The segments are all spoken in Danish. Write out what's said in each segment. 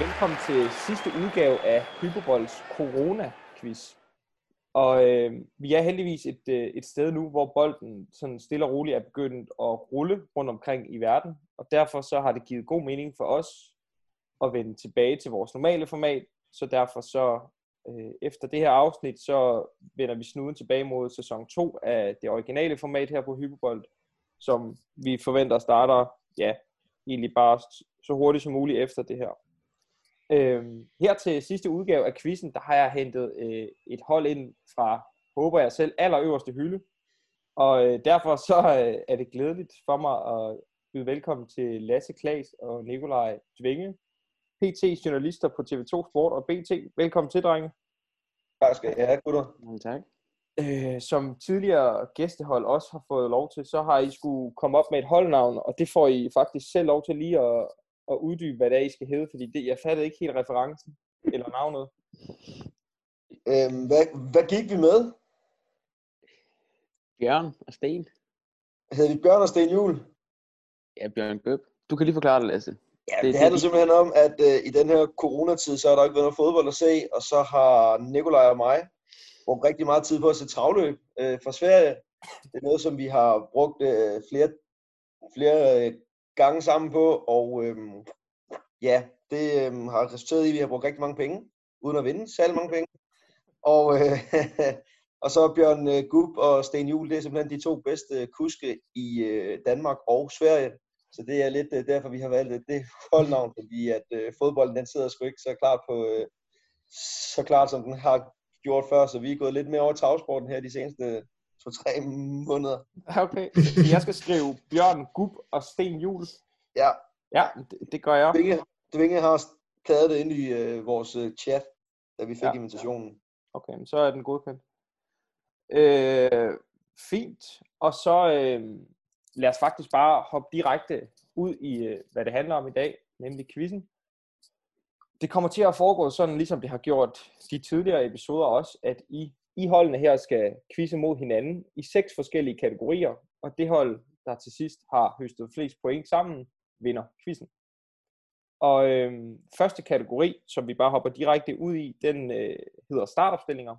velkommen til sidste udgave af Hyperbolds Corona-quiz. Og øh, vi er heldigvis et, øh, et sted nu, hvor bolden sådan stille og roligt er begyndt at rulle rundt omkring i verden. Og derfor så har det givet god mening for os at vende tilbage til vores normale format. Så derfor så øh, efter det her afsnit, så vender vi snuden tilbage mod sæson 2 af det originale format her på Hyperbold, som vi forventer starter, ja, egentlig bare så hurtigt som muligt efter det her. Øhm, her til sidste udgave af quizzen, der har jeg hentet øh, et hold ind fra, håber jeg selv, allerøverste hylde. Og øh, derfor så øh, er det glædeligt for mig at byde velkommen til Lasse Klaas og Nikolaj Dvinge, PT journalister på TV2 Sport og BT. Velkommen til, drenge. Tak skal I have, gutter. Mange tak. Øh, som tidligere gæstehold også har fået lov til, så har I skulle komme op med et holdnavn, og det får I faktisk selv lov til lige at, at uddybe, hvad det er, I skal hedde, fordi det, jeg fattede ikke helt referencen eller navnet. Øhm, hvad, hvad gik vi med? Bjørn og Sten. Hed vi Bjørn og Sten Jul? Ja, Bjørn Bøb. Du kan lige forklare det, Lasse. Ja, Det- det, det det- handler simpelthen om, at øh, i den her coronatid, så har der ikke været noget fodbold at se, og så har Nikolaj og mig brugt rigtig meget tid på at se travløb øh, fra Sverige. Det er noget, som vi har brugt øh, flere, flere øh, gange sammen på, og øh, ja, det øh, har resulteret i, at vi har brugt rigtig mange penge, uden at vinde særlig mange penge. Og, øh, og så Bjørn øh, Gub og Sten Juhl, det er simpelthen de to bedste kuske i øh, Danmark og Sverige. Så det er lidt øh, derfor, vi har valgt øh, det holdnavn, fordi at øh, fodbolden den sidder sgu ikke så klart på, øh, så klart som den har gjort før, så vi er gået lidt mere over tagsporten her de seneste 2-3 måneder. Okay, jeg skal skrive Bjørn Gub og Sten Jul. Ja, Ja, det, det gør jeg. Dvinge, Dvinge har taget det ind i øh, vores øh, chat, da vi fik Ja. ja. invitationen. Okay, men så er den godkendt. Øh, fint. Og så øh, lad os faktisk bare hoppe direkte ud i, øh, hvad det handler om i dag, nemlig quizzen. Det kommer til at foregå sådan, ligesom det har gjort de tidligere episoder også, at I, I holdene her skal quizze mod hinanden i seks forskellige kategorier, og det hold, der til sidst har høstet flest point sammen, vinder quizzen. Og øh, første kategori, som vi bare hopper direkte ud i, den øh, hedder startopstillinger.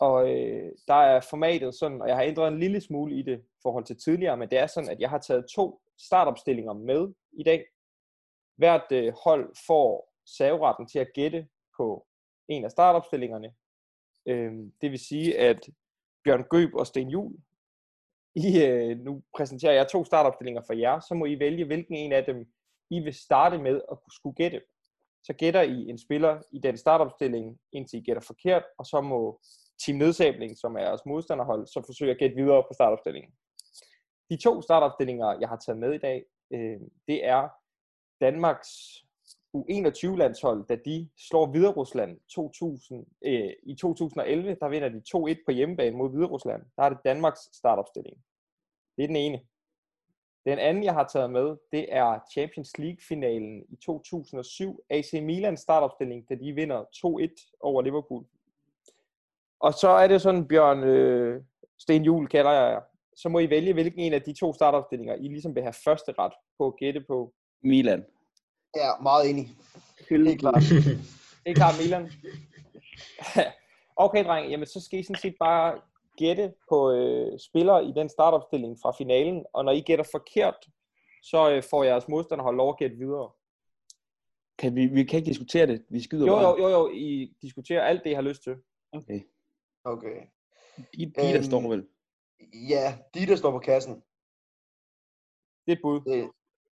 Og øh, der er formatet sådan, og jeg har ændret en lille smule i det i forhold til tidligere, men det er sådan, at jeg har taget to startopstillinger med i dag. Hvert øh, hold får saveretten til at gætte på en af startopstillingerne. Øhm, det vil sige, at Bjørn Gøb og Sten Jul, I, øh, nu præsenterer jeg to startopstillinger for jer, så må I vælge, hvilken en af dem I vil starte med at skulle gætte så gætter I en spiller i den startopstilling, indtil I gætter forkert, og så må Team Nedsabling, som er jeres modstanderhold, så forsøge at gætte videre på startopstillingen. De to startopstillinger, jeg har taget med i dag, øh, det er Danmarks U21-landshold, da de slår Hviderusland 2000, øh, i 2011. Der vinder de 2-1 på hjemmebane mod Hviderusland. Der er det Danmarks startopstilling. Det er den ene. Den anden, jeg har taget med, det er Champions League-finalen i 2007. AC Milan startopstilling, da de vinder 2-1 over Liverpool. Og så er det sådan, Bjørn øh, Sten Juhl kalder jeg jer. Så må I vælge, hvilken en af de to startopstillinger, I ligesom vil have første ret på at gætte på. Milan. Ja, meget enig. Hylde. Helt klart. Det er klart Milan. okay, dreng. Jamen, så skal I sådan set bare gætte på øh, spillere i den startopstilling fra finalen. Og når I gætter forkert, så øh, får jeres modstanderhold lov at gætte videre. Kan vi, vi kan ikke diskutere det. Vi skyder Jo, bare. jo, jo, jo. I diskuterer alt det, I har lyst til. Okay. Okay. De, de der Øhm, står vel. Ja, de der står på kassen. Det er et bud. Det,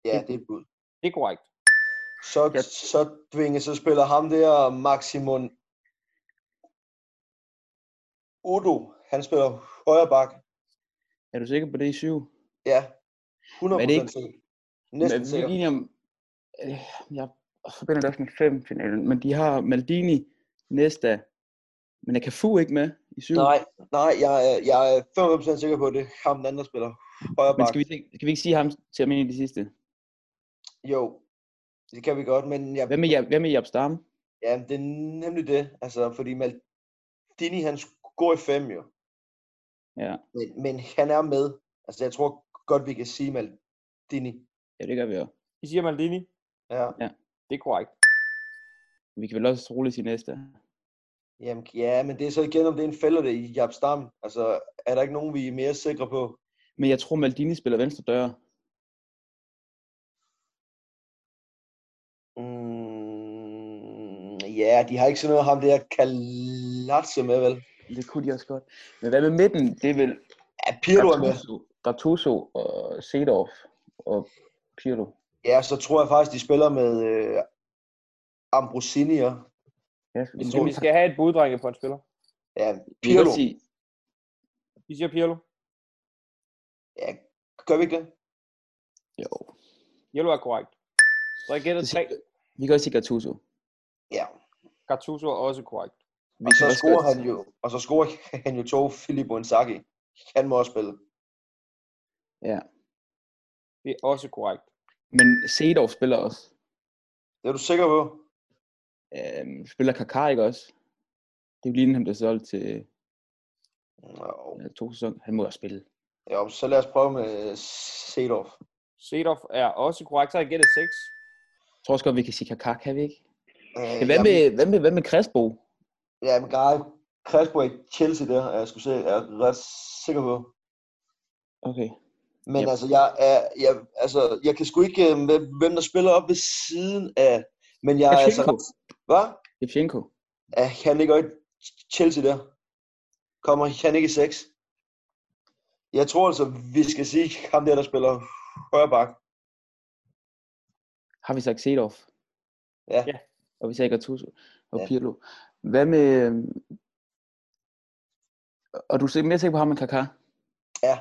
ja, det er et bud. Det er korrekt. Så, Ja. så Dvinge, så spiller ham der Maximum Udo. Han spiller højre bak. Er du sikker på det i syv? Ja, 100% Men det er ikke- sikker. Men Næsten vi er sikker. enige om... Øh, jeg forbinder det også med fem finalen. Men de har Maldini, Nesta. Men er Cafu ikke med i syv? Nej, nej, jeg, er- jeg er 95% sikker på, at det er ham den anden, der spiller højre Men bak. skal vi, ikke- skal vi ikke sige ham til at mene i det sidste? Jo, det kan vi godt, men jeg, Hvad med, Jab- hvad med Jab Stam? ja, det er nemlig det. Altså, fordi Maldini, han går i fem jo. Ja. Men, men han er med. Altså, jeg tror godt, vi kan sige Maldini. ja, det gør vi jo. I siger Maldini. Ja. Det er korrekt. Vi kan vel også roligt sige næste. Jamen, ja, men det er så igen, om det er en fælde det i Japs Dam. Altså, er der ikke nogen, vi er mere sikre på? Men jeg tror, Maldini spiller venstre dør. Mm, ja, de har ikke sådan noget ham der Kalatse med, vel? Det kunne de også godt. Men hvad med midten? Det er vel Ja, Pirlo er med. Gattuso, Gattuso og Sedorf og Pirlo. Ja, så tror jeg faktisk, de spiller med øh, Ambrosinier. Ja, Vi men skal, vi skal have et bud, drenge, på en spiller. Ja, vi kan Pirlo. godt sige, I siger Pirlo. Ja, gør vi ikke det? jo, Pirlo er korrekt. Så jeg gætter Det siger- tre. vi kan også sige Gattuso. Ja, Gattuso er også korrekt. Vi og kan så også scorer godt- han jo, og så scorer han jo to Filippo Inzaghi. Han må også spille. Ja. Det er også korrekt. Men Sedorf spiller også. Det er du sikker på? Øhm, spiller Kaká ikke også? Det er jo lige inden han blev solgt til Nå, øh, to sæsoner. Han må også spille. Jo, så lad os prøve med øh, Sedorf. Sedorf er også korrekt. Så har jeg gættet seks. Jeg tror også godt, vi kan sige Kaká, kan vi ikke? Øh, Men hvad med, hvad med, hvad med Crespo? Ja, men Gary Crespo i Chelsea der, er jeg skulle se, er jeg ret sikker på. Okay. Men Yep. yep. altså, jeg, er, jeg, altså, jeg kan sgu ikke, øh, hvem hvem der spiller op ved siden af... Men jeg er altså... Shevchenko. Hvad? Jevchenko. Er han ikke også i Chelsea der? Kommer han ikke i 6? Jeg tror altså, vi skal sige ham der, der spiller højre bak. Har vi sagt Sedorf? Ja. Ja. Og vi sagde Gattuso og Ja. Pirlo. Hvad med... øhm, Og du er mere sikker på ham end Kaká? Ja.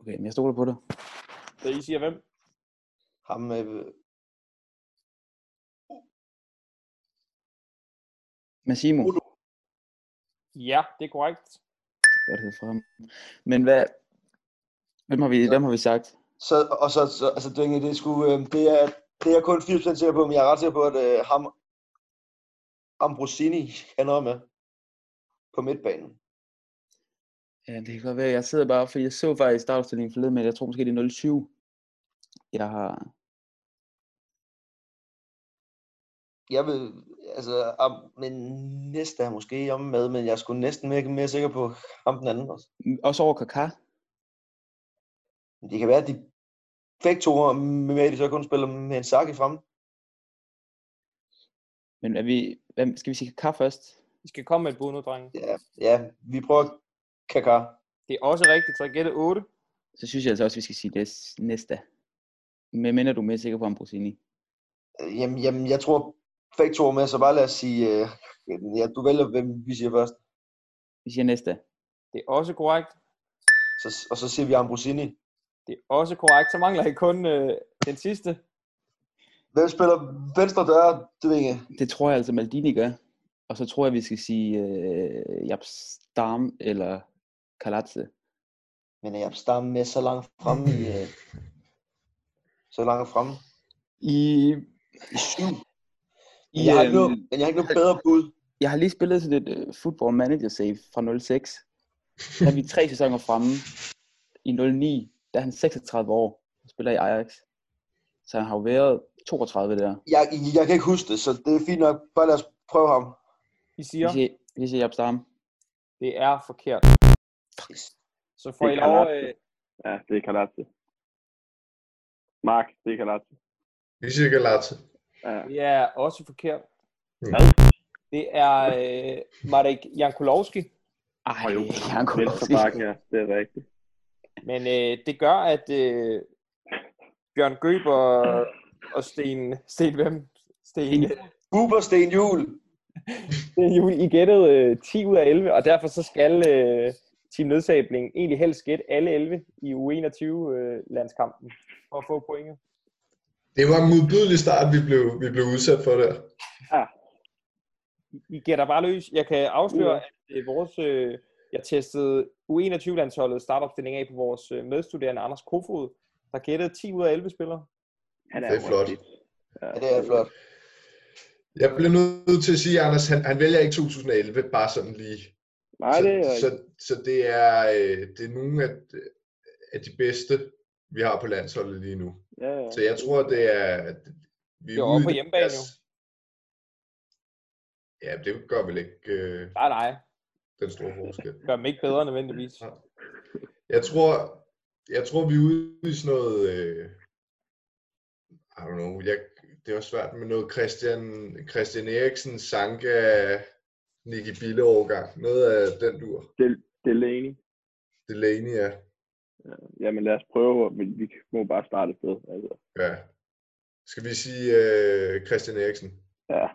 Okay, men jeg stoler på dig. Så I siger hvem? Ham øh, Massimo. Udo. Ja, det er korrekt. Godt hed fra ham. Men hvad... Hvem har vi, hvem har vi sagt? Så, og så, så altså, det, er egentlig- det, er sgu, øh, det, er, det er jeg kun 80% sikker på, men jeg er ret sikker på, at øh, ham, Ambrosini, han er også med på midtbanen. Ja, det kan godt være. Jeg sidder bare, fordi jeg så faktisk startopstillingen forleden, men jeg tror måske, det er 07. Jeg har... Jeg vil, altså, am, men næste er måske om med, men jeg er sgu næsten mere, mere sikker på ham den anden også. Også over Kaká. Men det kan være, at de begge to er med, at de så kun spiller med en sak i frem. Men er vi... Hvem, skal vi sige Kaká først? I skal komme med et bud nu, drenge. Ja, ja vi prøver Kaká. Det er også rigtigt. Så jeg gætter 8. Så synes jeg altså også, vi skal sige det næste. Men mindre du er mere sikker på Ambrosini. Øh, Jamen, jamen, jeg tror begge to er med, så bare lad os sige, øh, ja, du vælger, hvem vi siger først. Vi siger næste. Det er også korrekt. Så, og så siger vi Ambrosini. Det er også korrekt. Så mangler jeg kun øh, den sidste. Hvem spiller venstre dør, det ved jeg ikke. Det tror jeg altså, Maldini gør. Og så tror jeg, vi skal sige øh, Jap Stam eller Kalatse. Men jeg stammer med så langt frem i... øh, Så langt frem. I, Syv. i Men jeg, har ikke noget, øhm, men jeg har ikke noget bedre bud. jeg har lige spillet sådan et uh, football manager save fra 06. Der er vi tre sæsoner fremme. I 09, der er han 36 år og spiller i Ajax. Så han har jo været 32 der. Jeg, jeg kan ikke huske det, så det er fint nok. Bare lad os prøve ham. I Vi siger, siger, vi siger Jap Stam. det er forkert. Så får Det I kan lov... jeg Øh, Ja, det er Kalatse. Mark, det er Kalatse. Vi siger Galazzi. Ja. det er øh, også forkert. Hvad? Det er øh, Marek Jankulowski. Ej, Og jo, han kunne godt sige. Venstrebakken, ja, det er rigtigt. Men øh, det gør, at øh, Bjørn Gøb og, og Sten, Sten hvem? Sten, Buber Sten Jul. Sten Juhl, I gættede øh, 10 ud af 11, og derfor så skal øh, Team Nedsabling egentlig helst gætte alle 11 i U21-landskampen for at få pointet. Det var en modbydelig start, vi blev, vi blev udsat for der. I gætter bare løs. Jeg kan afsløre, at øh, vores, øh, jeg testede U21-landsholdet startopstilling af på vores øh, medstuderende Anders Kofod, der gættede 10 ud af 11 spillere. Han Det er flot. rigtig- Ja, Ja, det er flot. Jeg bliver nødt til at sige, Anders, han, han vælger ikke 2011, bare sådan lige. Nej, det er så, så, rigtigt. så det er, øh, det er nogle af, af de bedste, vi har på landsholdet lige nu. Ja, ja. Så jeg tror, det er... Vi Det var ude oppe i på hjemmebane, deres- Ja, det gør vel ikke øh, Nej, nej. den store forskel. Gør dem ikke bedre nødvendigvis. Jeg tror, jeg tror vi er ude i sådan noget... Øh, I don't know, jeg, det er også svært med noget Christian, Christian Eriksen, Sanka, Nicky Bille overgang. Noget af den dur. Delaney. Delaney, ja. Jamen lad os prøve, men vi må bare starte et sted. Altså, ja. Skal vi sige øh, Christian Eriksen? ja.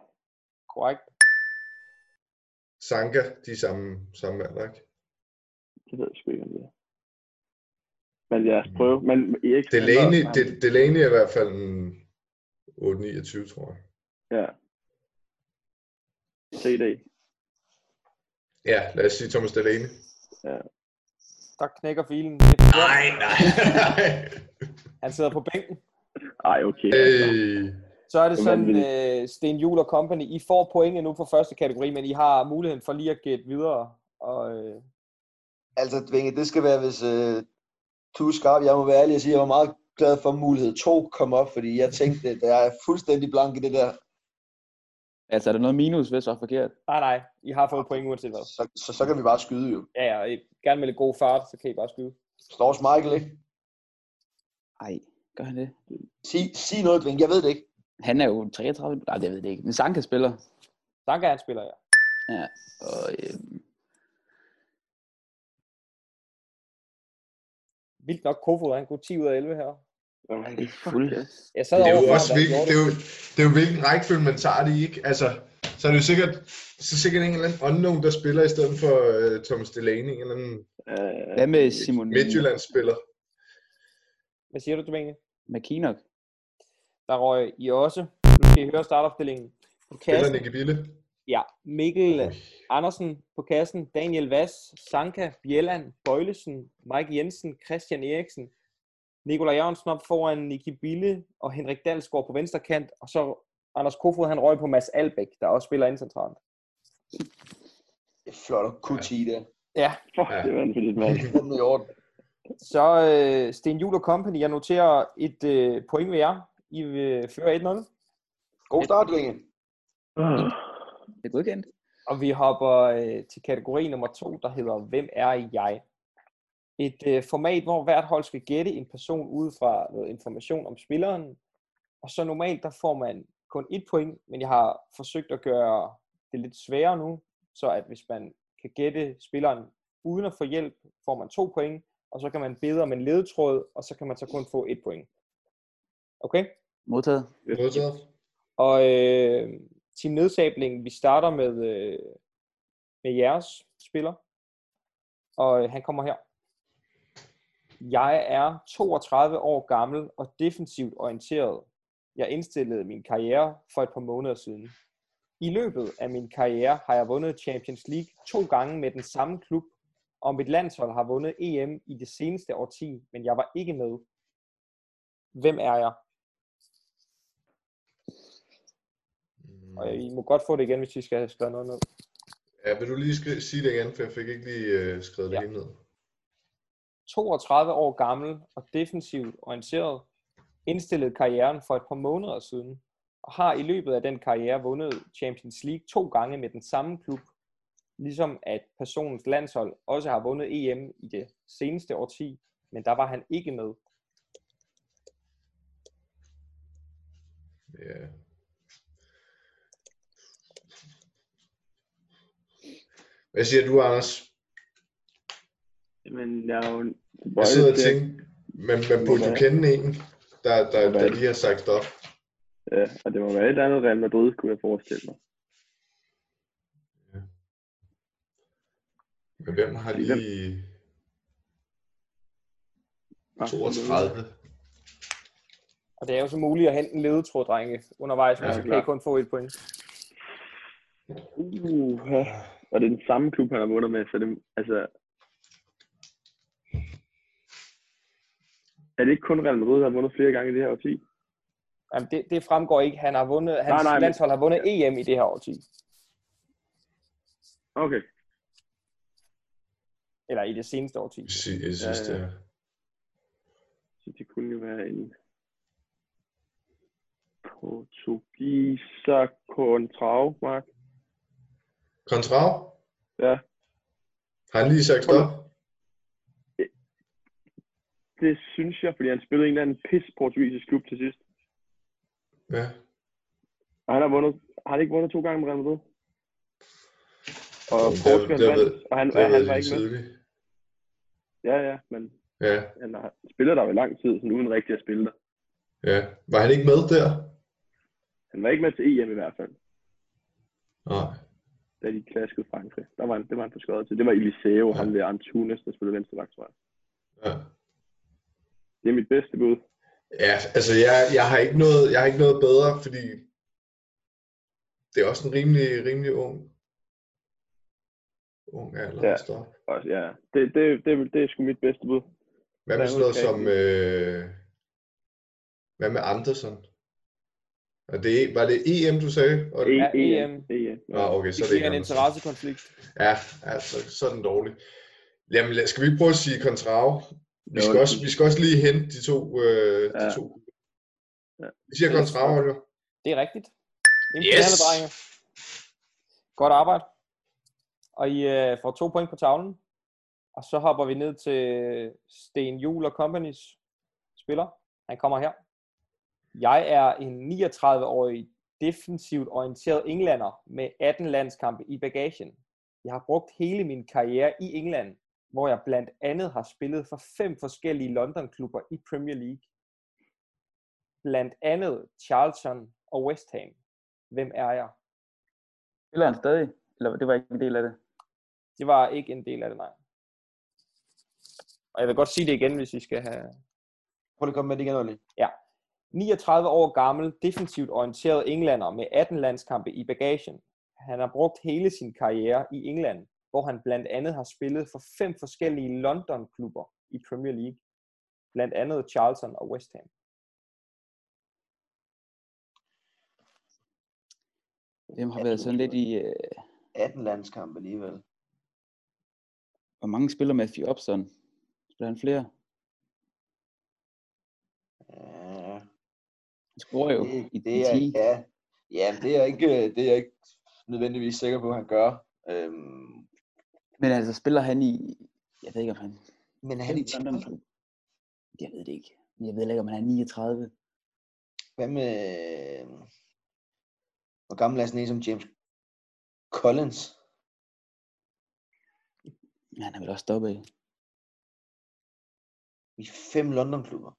Korrekt. Sanka, de er samme, samme mand, ikke? Det ved jeg sgu ikke, om det er. Men lad os prøve. Men Erik, Delaney, De, Delaney er i hvert fald en 8-29, tror jeg. Ja. CD. Ja, lad os sige Thomas Delaney. Der knækker filen. Det er forkert. Nej, nej, nej. Han sidder på bænken. Ej, okay. Altså. Øh, Så er det Det er sådan, vanvittigt. øh, Sten Juhl og Company, I får pointe nu for første kategori, men I har muligheden for lige at gætte videre. Og, øh, Altså, Dvinge, det skal være, hvis øh, du er skarp. Jeg må være ærlig og sige, at jeg var meget glad for, at mulighed 2 kom op, fordi jeg tænkte, at jeg er fuldstændig blank i det der. Altså, er der noget minus, hvis jeg er forkert? nej, nej, I har fået point uanset hvad. Så, så, så kan vi bare skyde jo. Ja, ja, I gerne med lidt god fart, så kan I bare skyde. Slås Michael, ikke? Nej, gør han det? Sig, sig noget, Dvinge. Jeg ved det ikke. Han er jo 33, nej, det ved jeg ikke. Men Sanka spiller. Sanka, han spiller, ja. Ja, og øhm, Vildt nok, Kofod, han kunne 10 ud af 11 her. han er fuldstændig. Jeg sad det er jo overfor også ham, da han vigtigt, gjorde det er jo, det er jo hvilken rækkefølge man tager det i, ikke? Altså, så er det jo sikkert, så er det sikkert en eller anden unknown, der spiller i stedet for uh, Thomas Delaney, en eller anden Mm. Øh, Hvad med Simon Midtjyllandsspiller. Hvad siger du, Domingue? McKinnock? Der røg I også. Nu skal I høre startopstillingen. På Spiller kassen, Nicky Bille. ja, Mikkel Andersen på kassen, Daniel Vass, Sanka, Bjelland, Bøjlesen, Mike Jensen, Christian Eriksen, Nikolaj Jørgensen op foran Niki Bille og Henrik Dalsgaard på venstre kant, og så Anders Kofod, han røg på Mads Albæk, der også spiller indcentralt. Det er flot at kunne 10 der. fuck, Ja. det er vanvittigt, mand. Den er i orden. Så øh, Sten Juhl og Company, jeg noterer et øh, point ved jer. I øh, fører 1-0. God start, Dvinge. Det er godkendt. Og vi hopper øh, til kategori nummer to, der hedder Hvem er jeg? Et øh, format, hvor hvert hold skal gætte en person ud fra noget information om spilleren. Og så normalt, der får man kun et point, men jeg har forsøgt at gøre det lidt sværere nu, så at hvis man kan gætte spilleren uden at få hjælp, får man to point, og så kan man bede om en ledetråd, og så kan man så kun få et point. Okay? Modtaget. Modtaget. Og øh, team nedsabling, vi starter med, øh, med jeres spiller. Og øh, han kommer her. Jeg er 32 år gammel og defensivt orienteret. Jeg indstillede min karriere for et par måneder siden. I løbet af min karriere har jeg vundet Champions League to gange med den samme klub, og mit landshold har vundet EM i det seneste årti, men jeg var ikke med. Hvem er jeg? Og øh, I må godt få det igen, hvis I skal have skrevet noget ned. Ja, vil du lige skri- sige det igen, for jeg fik ikke lige øh, skrevet det Ja. ja. hele ned. 32 år gammel og defensivt orienteret, indstillede karrieren for et par måneder siden, og har i løbet af den karriere vundet Champions League to gange med den samme klub, ligesom at personens landshold også har vundet EM i det seneste årti, men der var han ikke med. Ja. Hvad siger du, Anders? Men jeg er jo... Jeg sidder og tænker, man, man burde jo Ja. kende en, der, der, Ja. der lige har sagt stop. Ja, og det må være et eller andet Real Madrid, kunne jeg forestille mig. Men hvem har Hvem? lige 32? Og det er jo så muligt at hente en ledetråd, drenge, undervejs, men Ja, så kan I klart. kun få et point. Uh, og det er den samme klub, han har vundet med, så det, altså... Er det ikke kun Real Madrid, der har vundet flere gange i det her årti? Jamen, det, det fremgår ikke. Han har vundet, hans nej, men- landshold har vundet EM i det her årti. Okay. Eller i det seneste årti. Jeg sy- jeg synes, Ja, ja. ja, ja. det er. Så det kunne jo være en portugiser kontra Mark. Kontrav? Ja. Har han lige sagt stop? Det synes jeg, fordi han spillede i en eller anden pis portugisisk klub til sidst. Ja. Og han har, vundet, har han ikke vundet to gange med Real Madrid? Og Jamen, det- Portugal det vandt, ved- og han, Det og har han været var lidt ikke med. tidligt. Ja, ja, men Ja, han har, spiller der jo i lang tid, sådan uden rigtig at spille der. ja. Var han ikke med der? Han var ikke med til EM i hvert fald, Nej. da de klaskede Frankrig. Der var han, det var han forskåret til. Det var Eliseo, ja. Ja. ham der Antunes, der spillede venstre bak, tror jeg. Ja. Det er mit bedste bud. Ja, altså jeg, jeg, har ikke noget, jeg har ikke noget bedre, fordi det er også en rimelig, rimelig ung, ung alder. Ja. Ja. Står. Og, ja, det, det, det, det er sgu mit bedste bud. Hvad med Hvad sådan noget med som, øh, hvad med Andersen? Og det, var det EM, du sagde? Og, E- Ja, EM. EM. EM. Nå, okay, så Det er det giver ikke en Andersen. interessekonflikt. Ja, altså, så er den dårlig. Jamen, lad- skal vi ikke prøve at sige Contrao? Vi skal, også, vi skal også lige hente de to. Øh, de Ja. to. Ja. Vi siger Contrao, Oliver. Det er rigtigt. Imponerende, Yes! yes. drenge. Godt arbejde. Og I øh, får to point på tavlen. Og så hopper vi ned til Sten Jul og Companies spiller. Han kommer her. Jeg er en 39-årig defensivt orienteret englænder med 18 landskampe i bagagen. Jeg har brugt hele min karriere i England, hvor jeg blandt andet har spillet for fem forskellige London-klubber i Premier League blandt andet Charlton og West Ham. Hvem er jeg? Spiller han stadig? Eller det var ikke en del af det? Det var ikke en del af det, nej. Og jeg vil godt sige det igen, hvis I skal have... Prøv lige at komme med det igen, Olli. 39 år gammel, defensivt orienteret englænder med 18 landskampe i bagagen. Han har brugt hele sin karriere i England, hvor han blandt andet har spillet for fem forskellige London-klubber i Premier League. Blandt andet Charlton og West Ham. Dem har været sådan lidt i... Øh, 18 landskampe alligevel. hvor mange spiller Matthew Upson? Spiller han flere? Ja, Han scorer jo det, i, det i er, 10. ja, ja, men det er jeg ikke, øh, det er jeg ikke nødvendigvis sikker på, at han gør. Øhm, Men altså, spiller han i... Jeg ved ikke, om han... men er han i London Charlton? Club? Jeg ved det ikke. Jeg ved ikke, om han er 39. Hvad med... øh, Hvor gammel er sådan en som James Collins? Men han er vel også stoppet i. I fem London-klubber.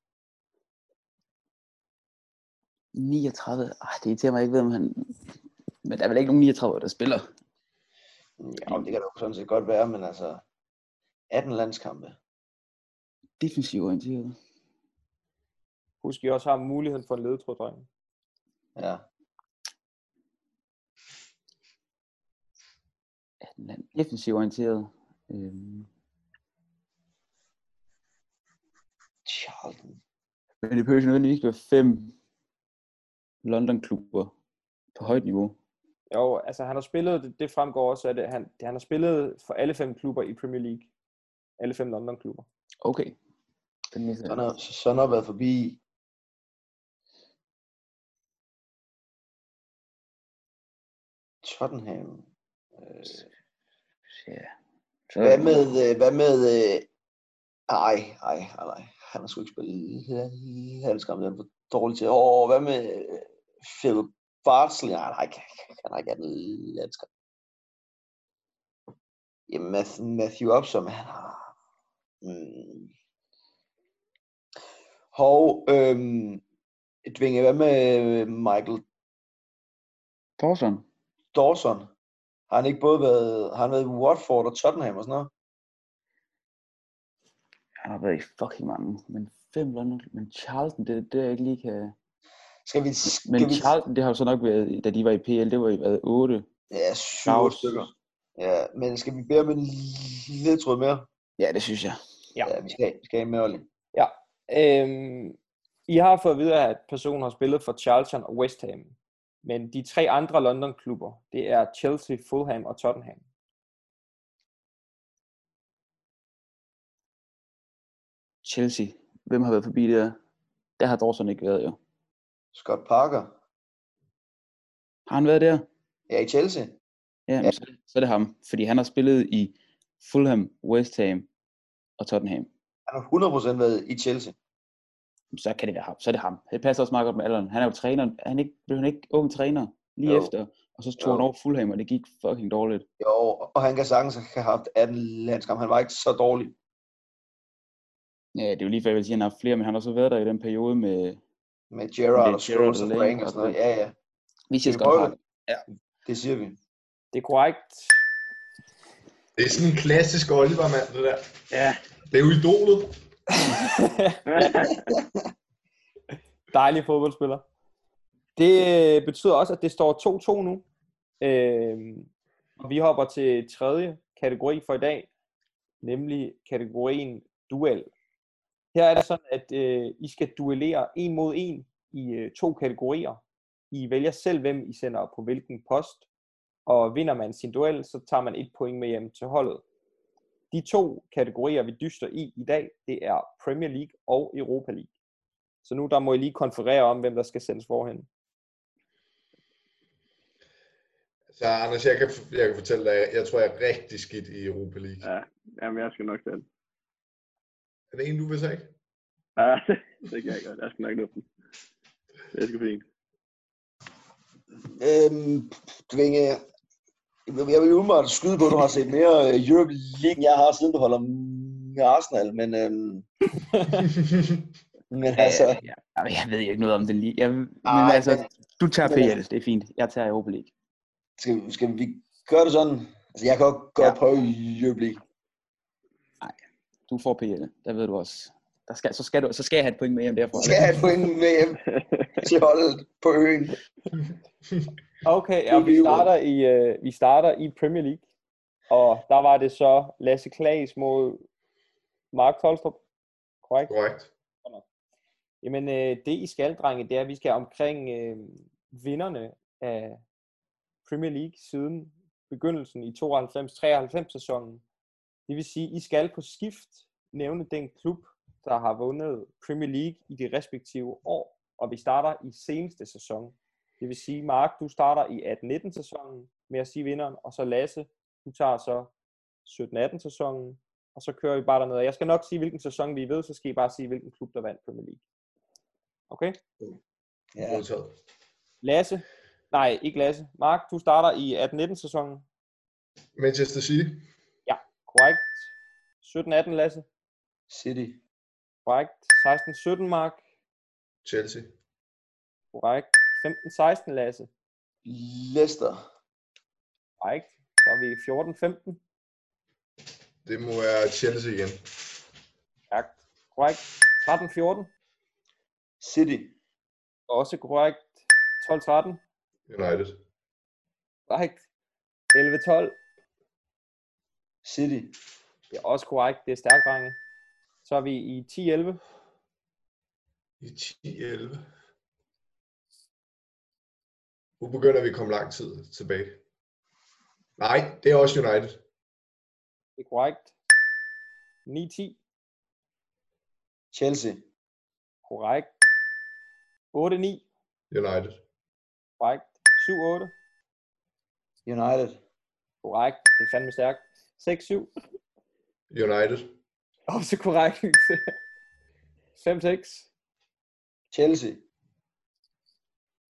39. Ah, det irriterer mig jeg ikke ved, om han... Men der er vel ikke nogen 39, der spiller. Ja, det kan da jo sådan set godt være, men altså... 18 landskampe. Defensiv orienteret. Husk, I også har muligheden for en ledetråd, drenge. Ja. 18 land. Defensiv orienteret. Øhm. Charlton. Men det behøver ikke nødvendigvis være fem London-klubber på højt niveau. Jo, altså han har spillet, det, det fremgår også af det, han, han har spillet for alle fem klubber i Premier League. Alle fem London-klubber. Okay. Den næste. Sådan har, sådan har været forbi Tottenham. Øh, Ja. Hvad Så, med, øh, hvad med, øh, ej, ej, ej, ej, han har sgu ikke spillet i halvskamp, den er for dårlig til. Åh, hvad med øh, Phil Barsley? Nej, han har ikke, han har ikke andet landskamp. Jamen, Matthew, Matthew Upsom, han har... Mm. Hov, øhm, Dvinge, hvad med øh, Michael Thorson. Dawson? Har han ikke både været, har han været i Watford og Tottenham og sådan noget? Han har været i fucking mange. Men fem London Men Charlton, det, det er jeg ikke lige kan... Skal vi, skal Men vi... Charlton, det har jo så nok været, da de var i PL, det var i været 8. Ja, syv Claus. otte stykker. Ja, men skal vi bede om en ledtråd mere? Ja, det synes jeg. Ja. ja vi skal, vi skal have en mere, Olli. Øhm, I har fået at vide, at personen har spillet for Charlton og West Ham. Men de tre andre London-klubber, det er Chelsea, Fulham og Tottenham. Chelsea. Hvem har været forbi det der? Der har Dawson ikke været jo. Scott Parker. Har han været der? Ja, i Chelsea. Ja, Ja. men så, så er det ham, fordi han har spillet i Fulham, West Ham og Tottenham. Han har 100% været i Chelsea. Så kan det være ham. Så er det ham. Det passer også meget godt med alderen. Han er jo træner. Er Han ikke, blev han ikke ung træner lige Jo. jo. efter. Og så tog Jo. han over Fulham, og det gik fucking dårligt. Jo, og han kan sagtens have haft 18 landskampe. Han var ikke så dårlig. Ja, det er jo lige før, jeg vil sige, at han har haft flere, men han har så været der i den periode med... Med Gerrard Med og Scholes Gerrard og og Frank Lane og sådan og noget. Ja, ja. Vi siger prøve godt ham. Det siger vi. Det er korrekt. Det er sådan en klassisk Oliver, mand, det der. Ja. Det er jo idolet. Dejlig fodboldspiller. Det øh, betyder også, at det står 2-2 nu. Øh, og vi hopper til tredje kategori for i dag, nemlig kategorien duel. Her er det sådan, at øh, I skal duellere en mod en i øh, to kategorier. I vælger selv, hvem I sender på hvilken post. Og vinder man sin duel, så tager man et point med hjem til holdet. De to kategorier, vi dyster i i dag, det er Premier League og Europa League. Så nu der må I lige konferere om, hvem der skal sendes forhen. Så Anders, jeg kan, jeg kan fortælle dig, jeg tror, jeg er rigtig skidt i Europa League. Ja. Jamen, jeg skal nok tage den. Er det en, du vil sige? Ja, det kan jeg godt. Jeg skal nok nå den. Det skal fint. Øhm, Dvinge, jeg vil umiddelbart skyde på, at du har set mere øh, Europe League, end jeg har, siden du holder med Arsenal. Men, øhm, men altså, Ja, ja, ja. Jeg ved jo ikke noget om den lige. Jeg, men Ej, altså, du tager men- PL, det er fint. Jeg tager Europa League. skal, skal vi gøre det sådan? Altså, jeg kan også godt prøve Europe League. Du får PL, der ved du også. Der skal, så, skal du, så skal jeg have et point med hjem derfra. Så skal jeg have et point med hjem til holdet på øen. Okay, ja, vi, starter i, øh, vi starter i Premier League. Og der var det så Lasse Klaas mod Mark Kolstrup. Korrekt? Korrekt. Jamen, øh, det I skal, drenge, det er, at vi skal omkring øh, vinderne af Premier League siden begyndelsen i 92-93 sæsonen. Det vil sige, I skal på skift nævne den klub, der har vundet Premier League i de respektive år, og vi starter i seneste sæson. Det vil sige, Mark, du starter i 18-19 sæsonen med at sige vinderen, og så Lasse, du tager så 17-18 sæsonen, og så kører vi bare dernede. Og Jeg skal nok sige, hvilken sæson vi er ved, så skal I bare sige, hvilken klub, der vandt Premier League. Okay. Ja. Modtaget. Lasse. Nej, ikke Lasse. Mark, du starter i 18-19 sæsonen. Manchester City. Korrekt. 17-18, Lasse. City. Korrekt. 16-17, Mark. Chelsea. Korrekt. 15-16, Lasse. Leicester. Korrekt. Så er vi i 14-15. Det må være Chelsea igen. Korrekt. Korrekt. 13-14. City. Også korrekt. 12-13. United. Korrekt. 11-12. City. Det er også korrekt. Det er stærkt, drenge. Så er vi i 10-11. I 10-11. Nu begynder vi at komme lang tid tilbage. Nej, det er også United. Det er korrekt. 9-10. Chelsea. Korrekt. 8-9. United. Korrekt. 7-8. United. Korrekt. Det er fandme stærkt. 6-7. United. Også korrekt. 5-6. Chelsea.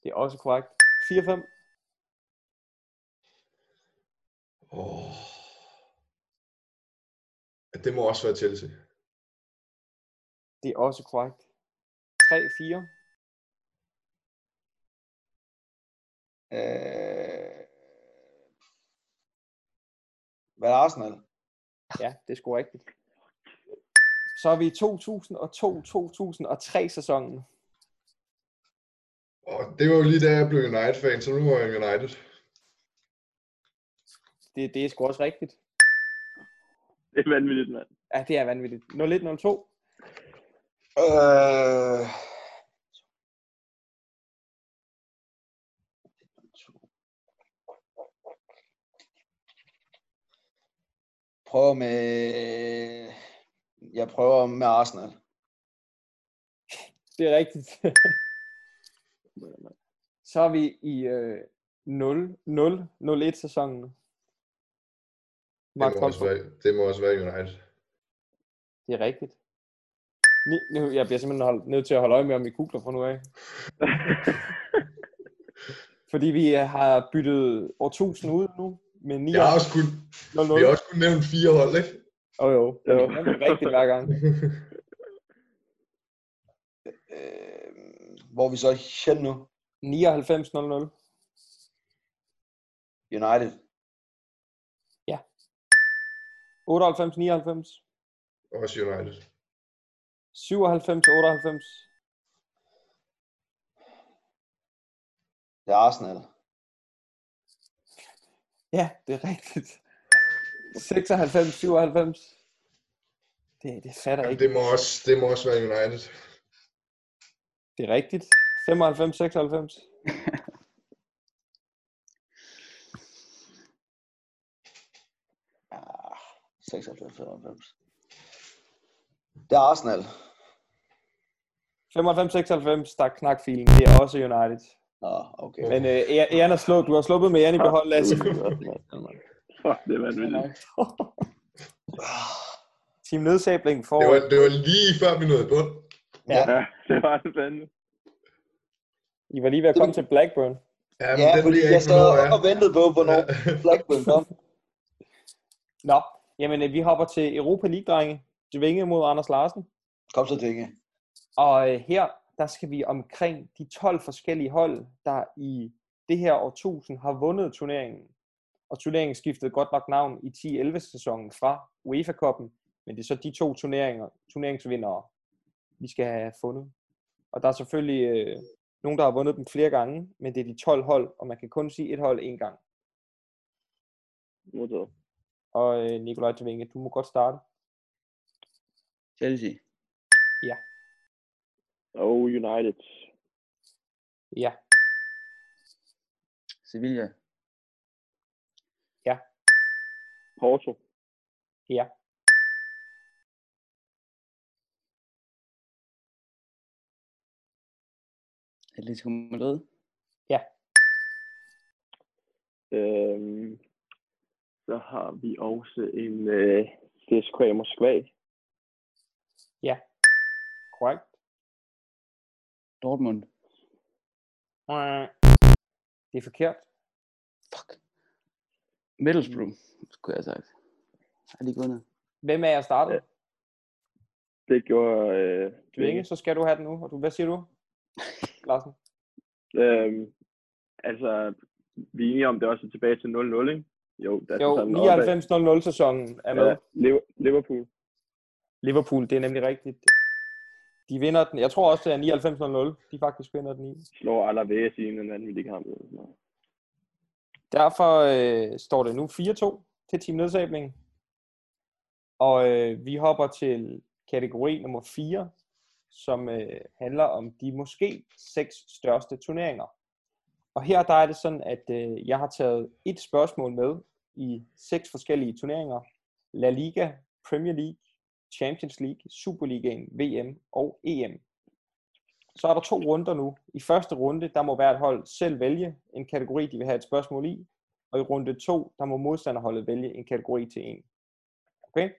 Det er også korrekt. 4-5. Oh. Det må også være Chelsea. Det er også korrekt. 3-4. Øh... Hvad er Arsenal? Ja, det er sgu rigtigt. Så er vi i 2002-2003 sæsonen. Og det var jo lige da jeg blev United-fan, så nu var jeg United. Det, det er sgu også rigtigt. Det er vanvittigt, mand. Ja, det er vanvittigt. 01-02. Øh... Prøv med... Jeg prøver med Arsenal. Det er rigtigt. Så er vi i øh, 0-0-01 sæsonen. Det Mark må, også Comfort. være, det må også være United. Det er rigtigt. Nu- Nu, jeg bliver simpelthen holdt, nødt til at holde øje med, om I kugler fra nu af. Fordi vi øh, har byttet årtusind ud nu med 9 Jeg har også kun, vi har også kun nævnt fire hold, ikke? Jo, jo. Jo. Det er rigtigt hver gang. Øh, hvor er vi så hen nu? 99.00. United. 98, 99. Også United. 97, 98. Det er Arsenal. Ja, det er rigtigt. 96, 97. Det, det fatter jeg Jamen, ikke. det, må også, det må også være United. Det er rigtigt. 95, 96. Ah, 96, 95. Det er Arsenal. 95, 96, der er knakfilen. Det er også United. Nå, okay. Men øh, æ- æren er slået. Du har sluppet med æren i behold, Lasse. Fuck, det er vanvittigt. Team Nedsabling får... Det var, det var lige før vi nåede i bund. Ja, det var det fandme. I var lige ved at komme til Blackburn. Ja, men Ja, den fordi ved jeg jeg ikke, sad hvornår er. og ventede på, hvornår Blackburn kom. Nå, jamen øh, vi hopper til Europa League-drenge. Dvinge mod Anders Larsen. Kom så, Dinge. Og øh, her, der skal vi omkring de 12 forskellige hold, der i det her årtusind har vundet turneringen. Og turneringen skiftede godt nok navn i 10-11 sæsonen fra UEFA-koppen, men det er så de to turneringer, turneringsvindere, vi skal have fundet. Og der er selvfølgelig øh, nogen, der har vundet dem flere gange, men det er de 12 hold, og man kan kun sige et hold en gang. Modtaget. Og øh, Nikolaj Tvinge, du må godt starte. Chelsea. Og United. Ja, Sevilla. Porto. Ja. Atletico Madrid. Øhm, så har vi også en øh, CSKA Moskva. korrekt. Dortmund. Det er forkert. Fuck. Middlesbrough, skulle jeg have sagt. Har de gået ned? Hvem er jeg startet? Det gjorde øh, Tvinge, så skal du have den nu. Og du, hvad siger du, Larsen? Øhm, altså, vi er enige om, det også er tilbage til 0-0, ikke? Jo, der er Jo, sådan noget opad. 99 sæsonen er med. Ja. Ja, Liver- Liverpool. Liverpool, det er nemlig rigtigt. De vinder den. Jeg tror også, det er 99 De faktisk vinder den i. slår Alaves i en vanvittig kamp. eller sådan noget. Derfor øh, står det nu 4-2 til Team Nedsabling. Og øh, vi hopper til kategori nummer 4, som øh, handler om de måske seks største turneringer. Og her der er det sådan, at øh, jeg har taget et spørgsmål med i seks forskellige turneringer. La Liga, Premier League, Champions League, Superligaen, VM og E EM. Så er der to runder nu. I første runde, der må hvert hold selv vælge en kategori, de vil have et spørgsmål i. Og i runde to, der må modstanderholdet vælge en kategori til en. Okay?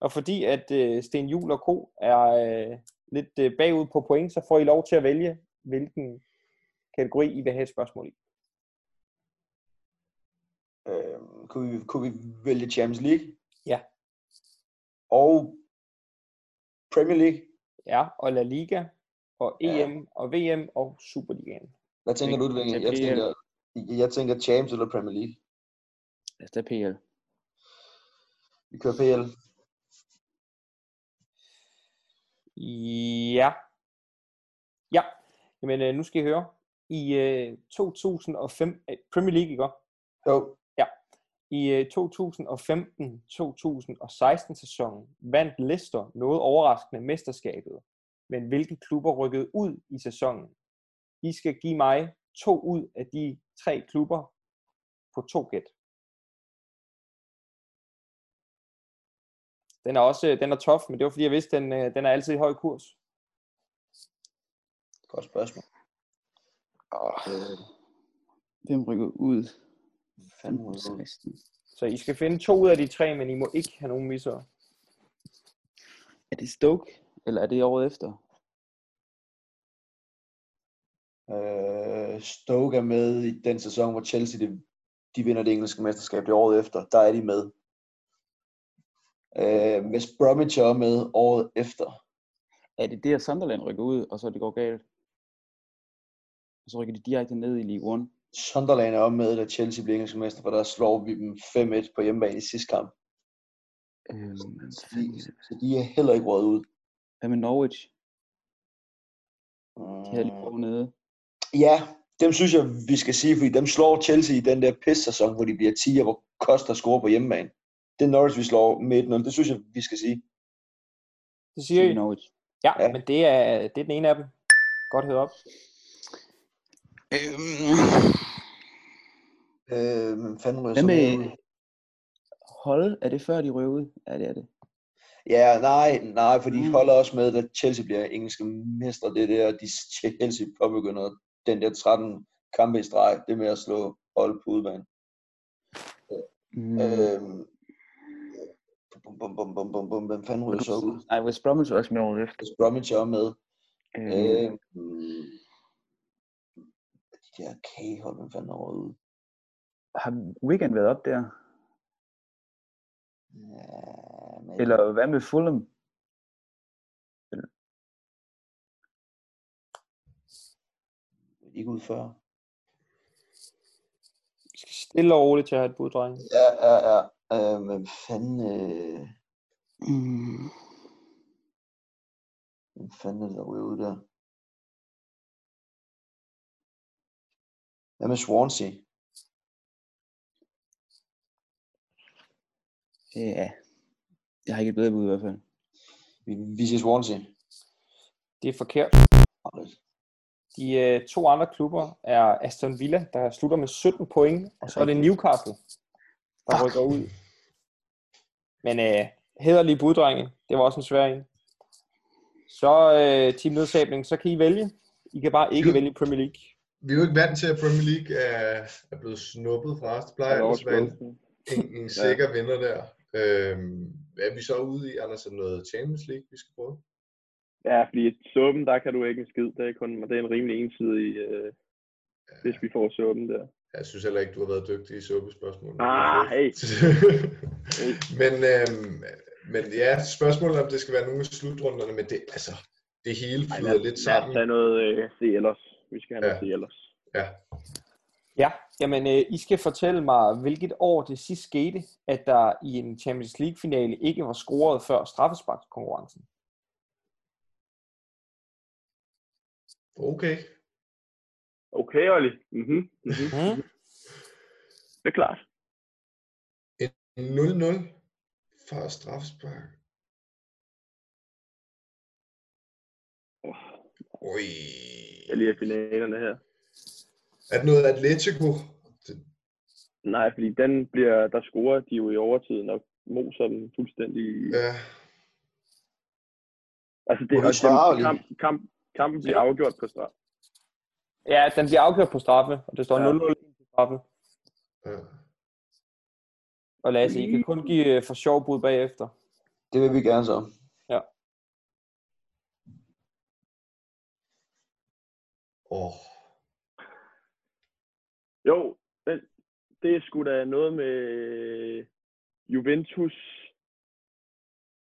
Og fordi at øh, Sten Jul og Co. er øh, lidt øh, bagud på point, så får I lov til at vælge, hvilken kategori I vil have et spørgsmål i. Øh, kunne, vi, kunne vi vælge Champions League? Ja. Og Premier League? Ja, og La Liga, og Ja. EM, og VM, og Superligaen. Hvad tænker du, Vinge? Jeg PL. tænker, jeg tænker Champions eller Premier League. Lad os tage PL. Vi kører PL. Ja. Ja. Jamen, øh, nu skal I høre. I øh, 2005, øh, Premier League, ikke? også? Jo, I øh, 2015-2016 sæsonen vandt Leicester noget overraskende mesterskabet. Men hvilke klubber rykkede ud i sæsonen? I skal give mig to ud af de tre klubber på to gæt. Den er også øh, den er tof, men det var fordi jeg vidste, den, øh, den er altid i høj kurs. godt spørgsmål. Hvem rykker ud? Fanden rykker ud? 16. Så I skal finde to ud af de tre, men I må ikke have nogen misser. Er det Stoke, eller er det året efter? Øh, Stoke er med i den sæson, hvor Chelsea de, de vinder det engelske mesterskab det året efter. Der er de med. Øh, West Bromwich er også med året efter. Er det det, at Sunderland rykker ud, og så det går galt? Og så rykker de direkte ned i League 1. Sunderland er også med, da Chelsea bliver engelske mester, for der slår vi dem 5-1 på hjemmebane i sidste kamp. Øhm, Så de, så de er heller ikke råd ud. hvad med Norwich? De havde lige Mm. på nede. Ja, dem synes jeg, vi skal sige, fordi dem slår Chelsea i den der piss-sæson, hvor de bliver 10, hvor Koster scorer på hjemmebane. Det er Norwich, vi slår med 1-0. Det synes jeg, vi skal sige. Det siger Sige I? Norwich. Ja, Ja. men det er, det er den ene af dem. Godt hørt op. Øhm, Øh, men fanden ryger hvad så med med ud? hold? Er det før, de ryger ud? Ja, det er det. Ja, nej, nej, for de Mm. holder også med, at Chelsea bliver engelske mestre. Det der, de Chelsea påbegynder den der 13 kampe i streg, det med at slå hold på udebane. Mm. Mm. Øh, Øhm, bum, bum, bum, bum, bum, bum, hvem fanden ryger så ud? Nej, West Bromwich er også med året efter. Hvis Bromwich er med. Øhm, Øh, mm, de der K-hold, hvem fanden er røget ud? Har Wigan været op der? Ja, men, Eller hvad med Fulham? Ikke ud før. I skal stille og roligt til at have et bud, drenge. Ja, ja, ja. Øh, men fanden, øh, Mm. hvem fanden er det, der ryger ud der? Hvad med Swansea? Øh, Ja. Jeg har ikke et bedre bud i hvert fald. Vi, vi siger Swansea. Det er forkert. Alright. De øh, to andre klubber er Aston Villa, der slutter med 17 point, og så er det Newcastle, der rykker ud. Men øh, hederlige buddrenge, det var også en svær en. Så øh, team nedsabling, så kan I vælge. I kan bare ikke vælge Premier League. Vi er jo ikke vant til, at Premier League er, er blevet snuppet fra os. Det plejer ellers at være en, en, en sikker vinder der. Øhm, hvad er vi så ude i, Anders? Er det noget Champions League, vi skal prøve? Ja, fordi suppen, der kan du ikke en skid. Det er, kun, det er en rimelig ensidig, øh, hvis vi får suppen der. Jeg synes heller ikke, du har været dygtig i suppespørgsmålene. Ah, hey. Hey. men, øhm, men ja, spørgsmålet er, om det skal være nogle af slutrunderne, men det, altså, det hele Ej, flyder lad, lidt lad os sammen. tage noget øh, se ellers. Vi skal have noget Ja. se ellers. Ja. Ja, jamen øh, I skal fortælle mig, hvilket år det sidst skete, at der i en Champions League-finale ikke var scoret før straffesparkskonkurrencen. Okay. Okay, Olli. Mm-hmm. Mm-hmm. Mm. Det er klart. 0-0 for strafspark. Oh, Oj. jeg lige finalerne her. Er det noget Atletico? Det, Nej, fordi den bliver, der scorer de jo i overtiden og moser dem fuldstændig. Ja. ja. Altså det, Må du og svare, Olli? dem, kamp, kamp, kampen bliver afgjort på straf. Ja, den bliver afgjort på straffe, og det står Ja. 0-0 på straffe. ja. Og Lasse, I kan kun give øh, for sjov bud bagefter. Det vil vi gerne så. Åh. Jo, det, det er sgu da noget med Juventus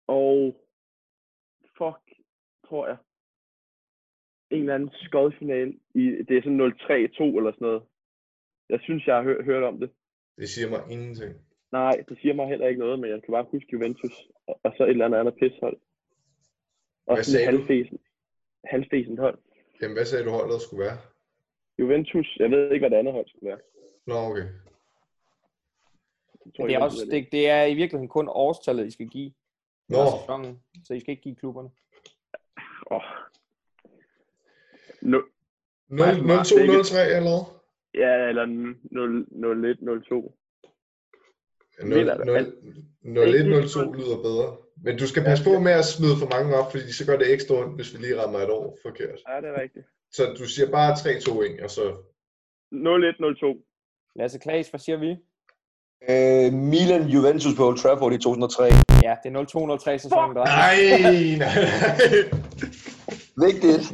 og fuck, tror jeg. En eller anden skodfinal. I, det er sådan 0-3-2 eller sådan noget. Jeg synes, jeg har hø- hørt om det. Det siger mig ingenting. Nej, det siger mig heller ikke noget, men jeg kan bare huske Juventus, og, og så et eller andet andet pishold. Og Hvad sådan sagde du? halvfesen, halvfesen hold. Jamen, hvad sagde du holdet skulle være? Juventus, jeg ved ikke, hvad det andet hold skulle være. Nå, okay. Jeg Men det tror ikke, er, jeg også, ved det, det er i virkeligheden kun årstallet, I skal give. Nå, Nå. Sæsonen, så I skal ikke give klubberne. Åh. Nul- 0-2-0-3 eller hvad? ja, eller 0-1-0-2. Ja, Vil er der- 0-1-0-2 lyder bedre. Men du skal passe på med at smide for mange op, fordi så gør det ekstra ondt, hvis vi lige rammer et år forkert. Ja, det er rigtigt. Så du siger bare 3-2-1, og så... 0-1-0-2. Lasse Klaas, hvad siger vi? Øh, Milan Juventus på Old Trafford i 2003. Ja, det er 0203 sæsonen, der er. Nej, nej. Vigtigt.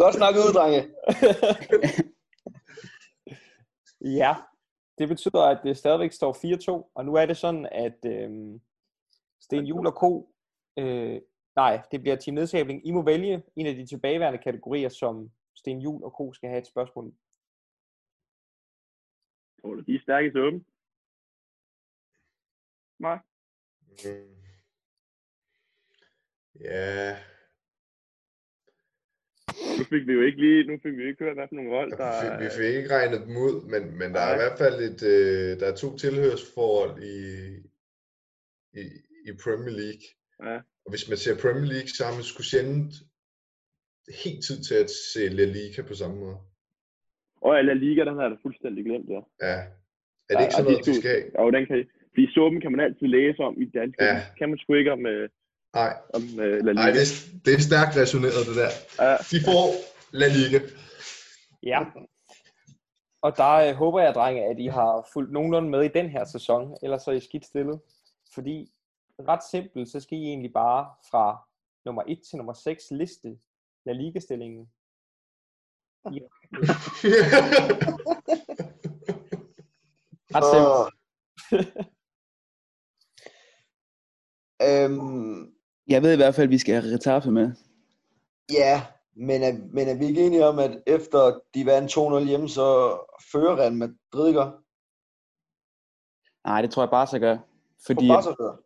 Godt snakket ud, drenge. Ja, det betyder, at det stadigvæk står 4-2, og nu er det sådan, at øhm, Sten Jul og Ko, øh, nej, det bliver Team Nedsabling. I må vælge en af de tilbageværende kategorier, som Sten Jul og Ko skal have et spørgsmål i. Ole, de er stærke til åben. Nej. Mm. Ja, Nu fik vi jo ikke lige, nu fik vi jo ikke hørt, hvad for nogle hold, vi der... fik, vi fik ikke regnet dem ud, men, men der er i Nej. hvert fald et, øh, der er to tilhørsforhold i, i, i Premier League. Ja. Og hvis man ser Premier League, så har man sgu sjældent helt tid til at se La Liga på samme måde. Og La Liga, den har jeg da fuldstændig glemt, ja. Ja. Er det ikke og sådan de noget, de skulle- skal have? Og den kan... Fordi suppen kan man altid læse om i dansk. Ja. Kan man sgu ikke om, øh, Nej, om øh, La nej Liga. det, er, det er stærkt rationeret, det der. Ja. De får La Liga. Ja. Og der øh, håber jeg, drenge, at I har fulgt nogenlunde med i den her sæson, ellers er I skidt stillet. Fordi ret simpelt, så skal I egentlig bare fra nummer 1 til nummer 6 liste La Liga-stillingen. Ret simpelt. Og... øhm, Jeg ved i hvert fald, at vi skal have Retaffe med. ja, men er, men er vi ikke enige om, at efter de vandt 2-0 hjemme, så fører Real Madrid, ikke? Nej, det tror jeg bare så gør. Fordi Fordi... På Barca fører.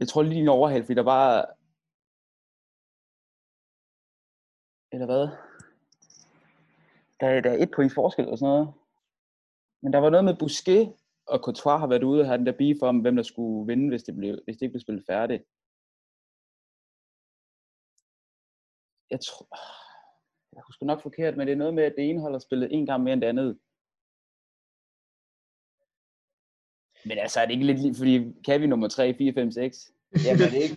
jeg tror lige en overhal, fordi der bare... Eller hvad? Der, er- der er et point forskel og sådan noget. Men der var noget med Busquet og Courtois har været ude og have den der beef om, hvem der skulle vinde, hvis det, blev, hvis det ikke blev spillet færdigt. Jeg tror... Jeg husker nok forkert, men det er noget med, at det ene hold har spillet en gang mere end det andet. Men altså, er det ikke lidt lige, fordi kan vi nummer 3, 4, 5, 6? Jamen er det ikke.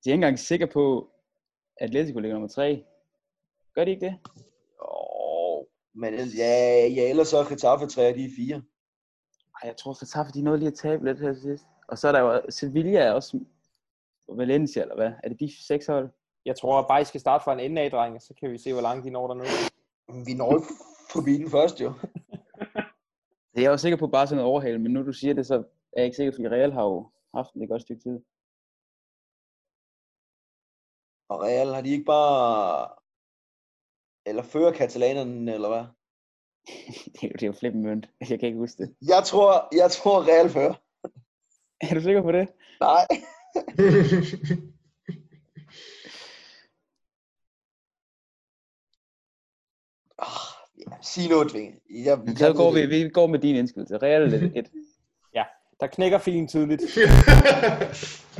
De er ikke engang sikre på, at Atletico ligger nummer 3. Gør de ikke det? Oh, men ellers- ja, ja, ellers så er Getafe 3 og de er 4. Ej, jeg tror, Getafe, de nåede lige at tabe lidt her til sidst. Og så er der jo Sevilla er også og Valencia, eller hvad? Er det de seks hold? Jeg tror bare, I skal starte fra en ende af, drenge, så kan vi se, hvor langt de når dernede. Vi når jo forbi den først, jo. Jeg er jo sikker på bare sådan noget overhale, men nu du siger det, så er jeg ikke sikker, fordi Real har jo haft det et godt stykke tid. Og Real har de ikke bare... Eller fører katalanerne, eller hvad? det, er jo, det er jo flippen mønt. Jeg kan ikke huske det. Jeg tror, jeg tror Real fører. Er du sikker på det? Nej. Oh, ja, sig noget, Tvinge. Jeg, Så går vi, vi går med din indskydelse. Real er et. Der knækker filen tidligt.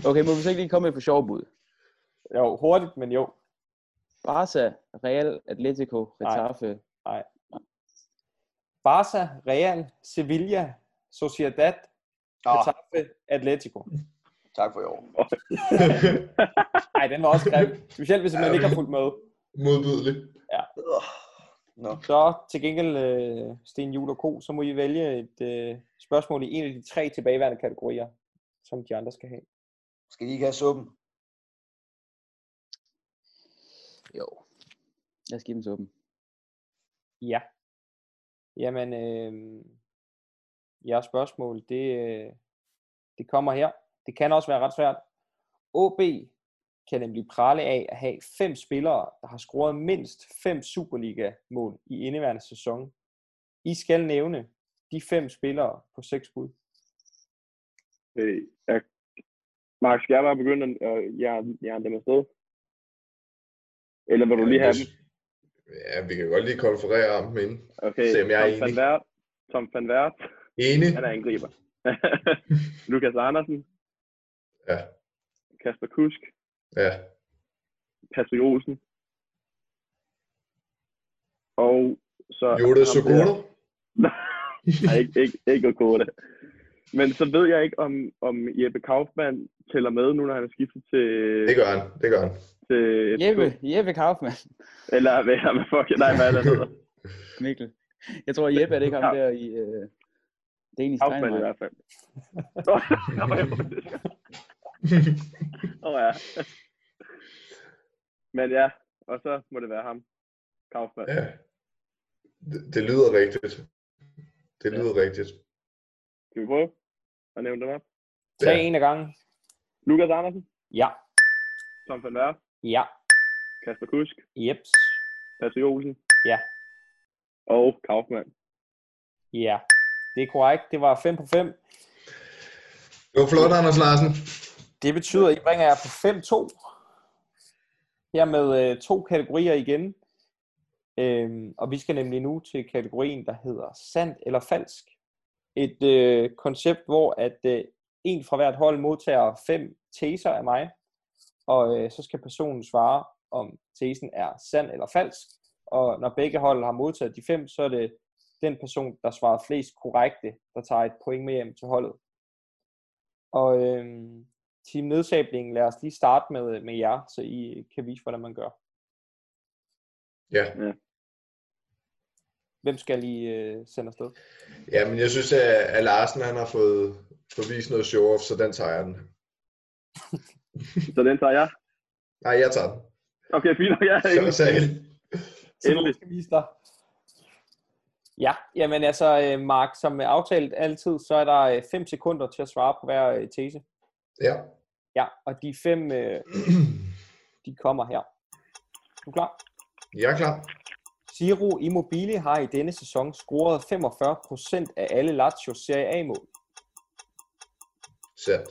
Okay, må vi så ikke lige komme med et for sjov bud? Jo, hurtigt, men jo. Barca, Real, Atletico, Getafe. Barca, Real, Sevilla, Sociedad, Nå, Getafe, Atletico. tak for i år. Nej, den var også grim. Specielt, hvis man ikke har fulgt med. Modbydeligt. Åh, Nå. Så til gengæld, øh, Sten Jul og Co., så må I vælge et øh, spørgsmål i en af de tre tilbageværende kategorier, som de andre skal have. Skal I ikke have suppen? Jo. Lad os give dem suppen. Ja. Jamen, øh, jeres spørgsmål, det, øh, det kommer her. Det kan også være ret svært. OB kan nemlig prale af at have fem spillere, der har scoret mindst fem Superliga-mål i indeværende sæson. I skal nævne de fem spillere på seks bud. Øh, jeg... Mark, skal jeg bare begynde at øh, jern, jern dem afsted? Eller vil du lige have dem? Ja, vi kan godt lige konferere om dem inden. Okay, Selvom jeg er Tom van enig. Vert. Tom van Vert, Enig? han er angriber. Lukas Andersen, Ja, Kasper Kusk, ja. Patrick Olsen. Og så... Jota ham der- Sugoro? Nej, ikke, ikke, ikke Okoda. Men så ved jeg ikke, om, om Jeppe Kaufmann tæller med nu, når han er skiftet til, Det gør han, det gør han. til FCK. Jeppe, Jeppe Kaufmann. Eller hvad, hvad fuck, nej, hvad er det, han hedder? Mikkel. Jeg tror, Jeppe er det ikke ham der i... Øh, det er egentlig Affald i Steinmark. hvert fald. Nå, nå, jo, det skal- Åh oh, ja. Men ja, og så må det være ham. Kaufmann. ja. Det, det lyder rigtigt. Det lyder ja. rigtigt. Skal vi prøve at nævne dem op? Tag Ja. en af gangen. Lukas Andersen, Ja. Tom van Werf, Ja. Kasper Kusk, Jeps. Patrick Olsen. Ja. Og Kaufmann. Ja. Det er korrekt. Det var 5 på 5. Det var flot, Anders Larsen. Det betyder, at I bringer jer på 5-2. Her med øh, to kategorier igen. Øhm, og vi skal nemlig nu til kategorien, der hedder sandt eller falsk. Et øh, koncept, hvor at øh, en fra hvert hold modtager fem teser af mig, og øh, så skal personen svare, om tesen er sand eller falsk. Og når begge hold har modtaget de fem, så er det den person, der svarer flest korrekte, der tager et point med hjem til holdet. Og øhm, Team Nedsablingen, lad os lige starte med, med jer, så I kan vise, hvordan man gør. Ja. Hvem skal I øh, sende afsted? ja, men jeg synes, at, at Larsen han har fået, fået vist noget show-off, så den tager jeg den. Så den tager jeg. Nej, jeg tager den. Okay, fint. nok, Jeg er Så, ikke. så heldig. Så nogen Endelig. skal vise dig. Ja, jamen altså, øh, Mark, som aftalt altid, så er der øh, 5 sekunder til at svare på hver øh, tese. Ja. Ja, og de fem, øh, de kommer her. Du er klar? Jeg er klar. Ciro Immobile har i denne sæson scoret 45% af alle Lazio Serie A-mål. Sandt.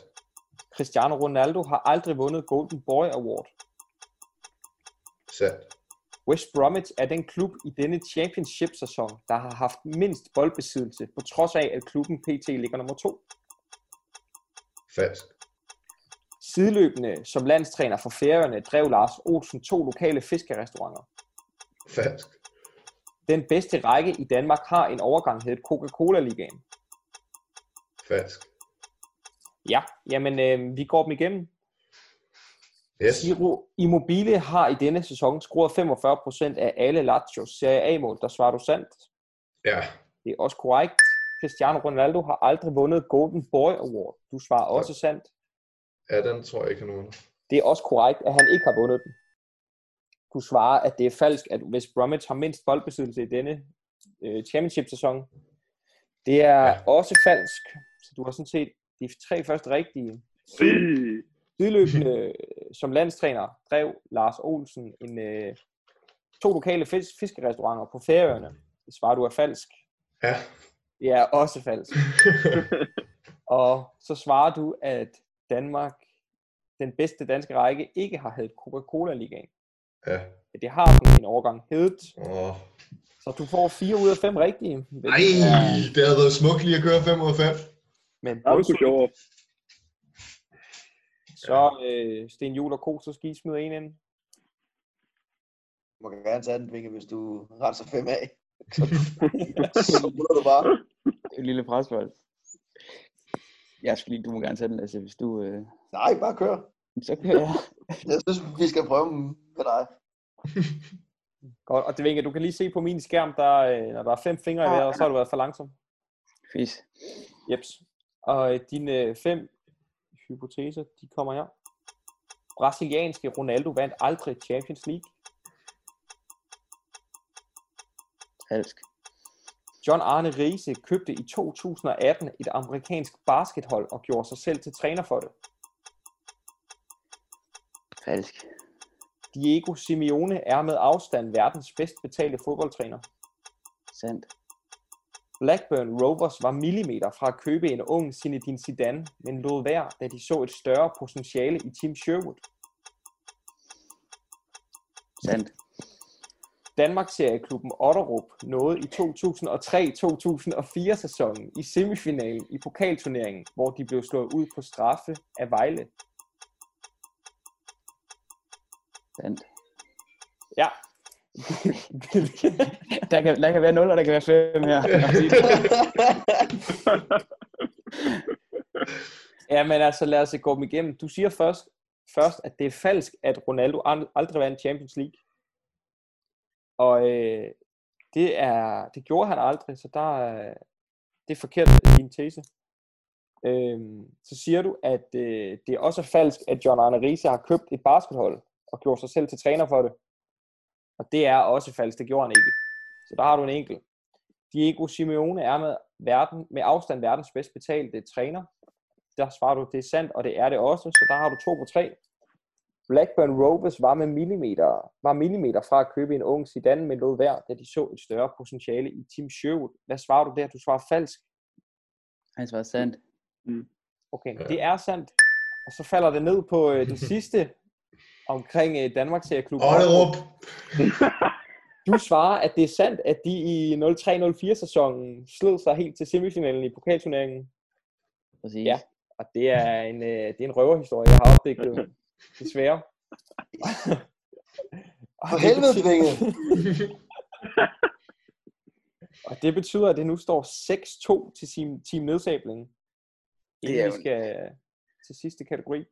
Cristiano Ronaldo har aldrig vundet Golden Boy Award. Sandt. West Bromwich er den klub i denne championship-sæson, der har haft mindst boldbesiddelse, på trods af, at klubben pt. ligger nummer to. Falsk. Sideløbende som landstræner for Færøerne drev Lars Olsen to lokale fiskerestauranter. Falsk. Den bedste række i Danmark har en overgang heddet Coca-Cola-ligaen. Falsk. Ja, jamen øh, vi går dem igennem. Yes. Ciro Immobile har i denne sæson scoret 45% af alle Lazio's Serie A-mål, der svarer du sandt. Ja. Det er også korrekt. Cristiano Ronaldo har aldrig vundet Golden Boy Award. Du svarer også sandt. Ja, den tror jeg ikke er nogen. Det er også korrekt, at han ikke har vundet den. Du svarer, at det er falsk, at West Bromwich har mindst boldbesiddelse i denne øh, championship-sæson. Det er Ja. ja. også falsk. Så du har sådan set de tre første rigtige. Fy. Sideløbende øh, som landstræner drev Lars Olsen en, øh, to lokale fis- fiskerestauranter på Færøerne. Det svarer du er falsk. Ja. Det er også falsk. Og så svarer du, at Danmark, den bedste danske række, ikke har heddet Coca-Cola-ligaen. ja. Ja, det har den en overgang hedet. Åh. Så du får 4 ud af 5 rigtige. Men- Nej, det havde været smukt lige at køre 5 ud af 5. Men Ja, du kunne bundsund, sjov op. så øh, Sten Jul og Ko, så skal I smide en ind. Du må gerne tage den, Vinke, hvis du renser fem af. Så, så ruller du bare. Det er en lille presbold. Jeg skal lige, du må gerne tage den, altså, hvis du... Øh... Nej, bare kør. Så kører jeg. Jeg synes, vi skal prøve dem med dig. Godt, og det vinker, du kan lige se på min skærm, der, øh, når der er fem fingre i vejret, så har du været for langsom. Fis. Jeps. Og øh, dine øh, fem hypoteser, de kommer her. Brasilianske Ronaldo vandt aldrig Champions League. Falsk. John Arne Riese købte i 2018 et amerikansk baskethold og gjorde sig selv til træner for det. Falsk. Diego Simeone er med afstand verdens bedst betalte fodboldtræner. Sandt. Blackburn Rovers var millimeter fra at købe en ung Zinedine Zidane, men lod være, da de så et større potentiale i Tim Sherwood. Sandt. Danmarks serieklubben Otterup nåede i 2003-2004 sæsonen i semifinalen i pokalturneringen, hvor de blev slået ud på straffe af Vejle. Sandt. Ja. Der kan, der kan være 0, og der kan være 5 her. ja, men altså lad os gå dem igennem. Du siger først, først at det er falsk, at Ronaldo ald- aldrig vandt Champions League. Og øh, Det, er, det gjorde han aldrig, så der, er- det er forkert din tese. Øhm, så siger du, at øh, det også er falsk, at John Arne Riese har købt et baskethold og gjort sig selv til træner for det. Og det er også falsk, det gjorde han ikke. Så der har du en enkelt. Diego Simeone er med, verden, med afstand verdens bedst betalte træner. Der svarer du, det er sandt, og det er det også. Så der har du to på tre. Blackburn Rovers var, med millimeter, var millimeter fra at købe en ung Zidane, men lod værd, da de så et større potentiale i Tim Sherwood. Hvad svarer du der? Du svarer falsk. Han svarer sandt. Okay, Ja. det er sandt. Og så falder det ned på øh, den sidste omkring øh, Danmarks Serieklub. Ollerup! Du svarer, at det er sandt, at de i 03-04 sæsonen slog sig helt til semifinalen i pokalturneringen. Præcis. Ja. Og det er en, øh, det er en røverhistorie, jeg har opdaget. Desværre. Og For det helvede, betyder- Vinge! Og det betyder, at det nu står 6-2 til team, team nedsabling. Det Inden er vi jo en- skal til sidste kategori.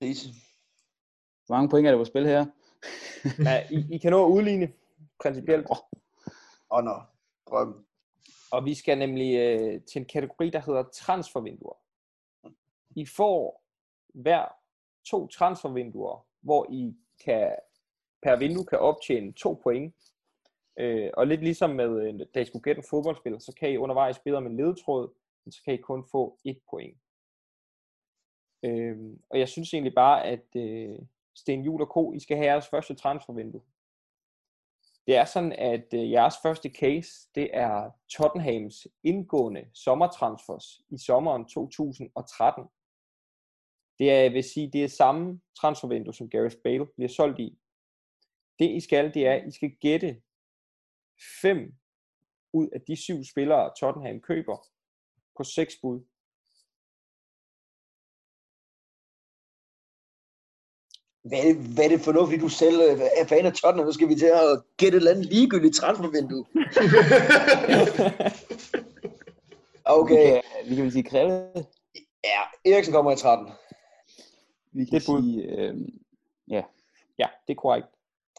Lise. Hvor mange point er der på spil her? Ja, I, I kan nå at udligne principielt. Åh, oh, nå. No. Drøm. Og vi skal nemlig øh, til en kategori, der hedder transfervinduer. I får hver to transfervinduer, hvor I kan, per vindue kan optjene to point. Øh, og lidt ligesom med, øh, da I skulle gætte en fodboldspiller, så kan I undervejs bede om en ledetråd, men så kan I kun få et point. Øh, og jeg synes egentlig bare, at øh, Sten Jul og Co., I skal have jeres første transfervindue. Det er sådan, at øh, jeres første case, det er Tottenhams indgående sommertransfers i sommeren 2013. Det er, jeg vil sige, det er samme transfervindue, som Gareth Bale bliver solgt i. Det I skal, det er, at I skal gætte fem ud af de syv spillere, Tottenham køber på seks bud. Hvad er, det, hvad er det fornuftigt, du selv øh, er fan af Tottenham? Nu skal vi til at gætte et eller andet ligegyldigt transfervindue. Okay, Vi kan, vi kan vel sige Krille. ja. Eriksen kommer i 13. Vi kan Det er et bud. sige, øh, Ja, det er korrekt.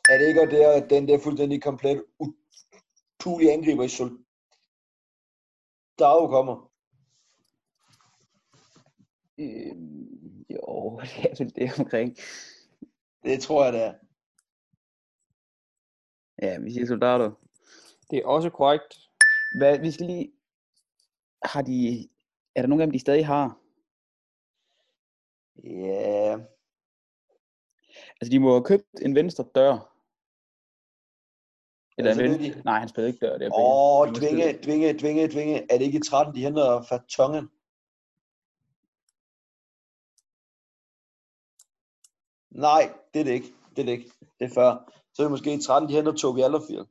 Er det ikke at det er den der fuldstændig komplet utulige angriber i Sol? Dago kommer. øh, jo, det er vel det omkring. Det tror jeg, det er. Ja, vi siger soldater. Det er også korrekt. Hvad, vi skal lige... Har de... Er der nogen af dem, de stadig har? Ja, Altså, de må have købt en venstre dør. Eller Ja, så en ved venstre... Nej, han spillede ikke dør. Det er Bale. Åh, Han dvinge, spillede- dvinge, dvinge, dvinge. Er det ikke i 13, de henter Fatongen? Nej, det er det ikke. Det er det ikke. Det er før. Så er det måske i 13, de henter Tobi Allerfield.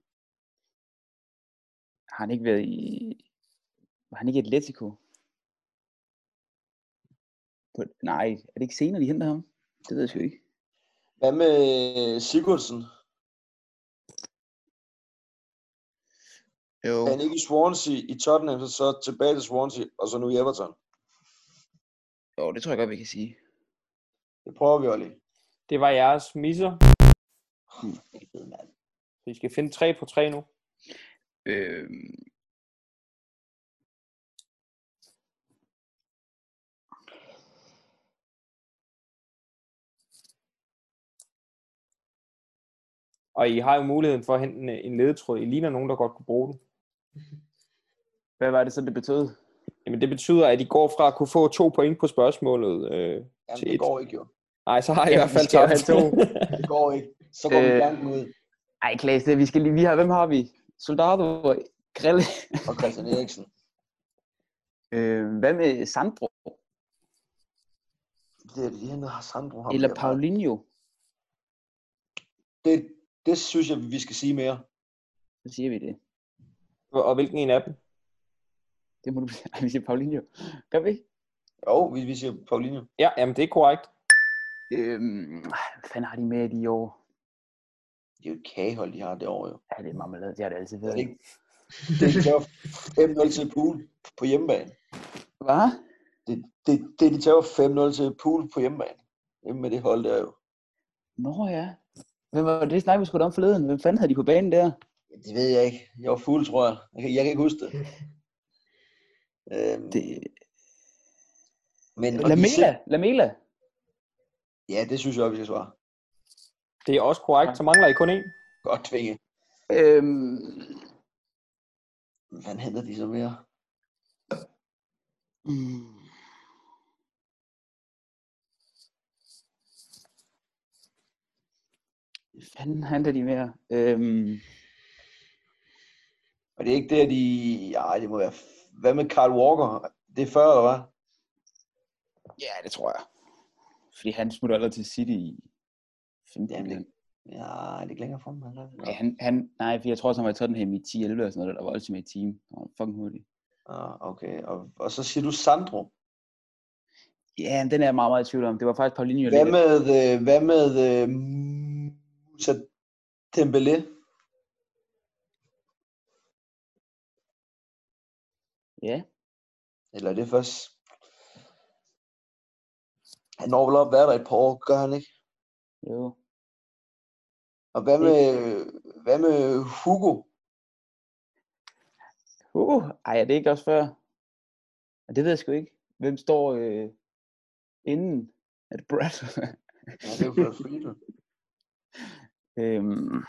Har han ikke været i... Var han ikke i Atletico? På... Nej, er det ikke senere, de henter ham? Det ved jeg sgu ikke. Hvad med øh, Sigurdsen? Jo. Er han ikke i Swansea i Tottenham, så- så tilbage til Swansea, og så nu i Everton? Jo, det tror jeg godt, vi kan sige. Det prøver vi, Olli. Det var jeres misser. Fed mand. Så I skal finde tre på tre nu. Øh... Og I har jo muligheden for at hente en, en ledetråd. I ligner nogen, der godt kunne bruge den. Hvad var det så, det betød? Jamen det betyder, at I går fra at kunne få to point på spørgsmålet. Øh, Jamen, Til det et. går ikke, jo. nej, så har I i Ja, hvert fald vi skal tabt. have to. Det går ikke. Så går vi Øh. blanken ud. Ej, Klaas, det vi skal lige... Vi har... Hvem har vi? Soldado og Grille. Og Christian Eriksen. Øh, hvad med Sandro? Det er lige henter Sandro. ham Eller der. Paulinho? Det, det synes jeg, vi skal sige mere. Så siger vi det. og hvilken en af dem? Det må du... Ej, vi siger Paulinho. Gør vi ikke? Jo, vi, vi siger Paulinho. Ja, jamen det er korrekt. Øhm, hvad fanden har de med i de år? Det er jo et kagehold, de har det år, jo. Ja, det Mm. er marmelade. Det har det altid Er været. det ikke? Det tager 5-0 til pool på hjemmebane. Hvad? Det, det, det de tager 5-0 til pool på hjemmebane. Hjemme med det hold der jo. Nå ja. Hvem var det, snakkede vi sgu da om forleden? Hvem fanden havde de på banen der? Det ved jeg ikke. Jeg var fuld, tror jeg. Jeg kan, jeg kan ikke huske det. øhm, Det... men, og de er Øh, Lamela! selv- Lamela! Ja, det synes jeg også, vi skal svare. Det er også korrekt, så mangler I kun én. Godt tvinge. Øhm... Hvad fanden hedder de så mere? mm. Hvad fanden handler de mere? Øhm... Og det er ikke det, at de... Ej, det må være... Hvad med Carl Walker? Det er før, eller hvad? Ja, det tror jeg. Fordi han smutter allerede til City i 15. Jamen, det- eller- Ja, det er ikke længere fremme. eller hvad? Ja, han, han, nej, for jeg tror, også, han var i Tottenham i 10-11 eller sådan noget, der var Ultimate Team. Han var fucking hurtig. Ah, okay. Og, og så siger du Sandro. Ja, men den er jeg meget, meget i tvivl om. Det var faktisk Paulinho, der Hvad ligger- med, øh, hvad med øh, Moussa Dembélé? Ja, Eller er det først... Han når vel op at være der et par år, gør han ikke? jo. Og hvad Det- med, hvad med Hugo? Uh, ej, er det ikke også før? Ja, det ved jeg sgu ikke. Hvem står øh, inden? Er det Brad? Ja, det er jo for free, du. øhm,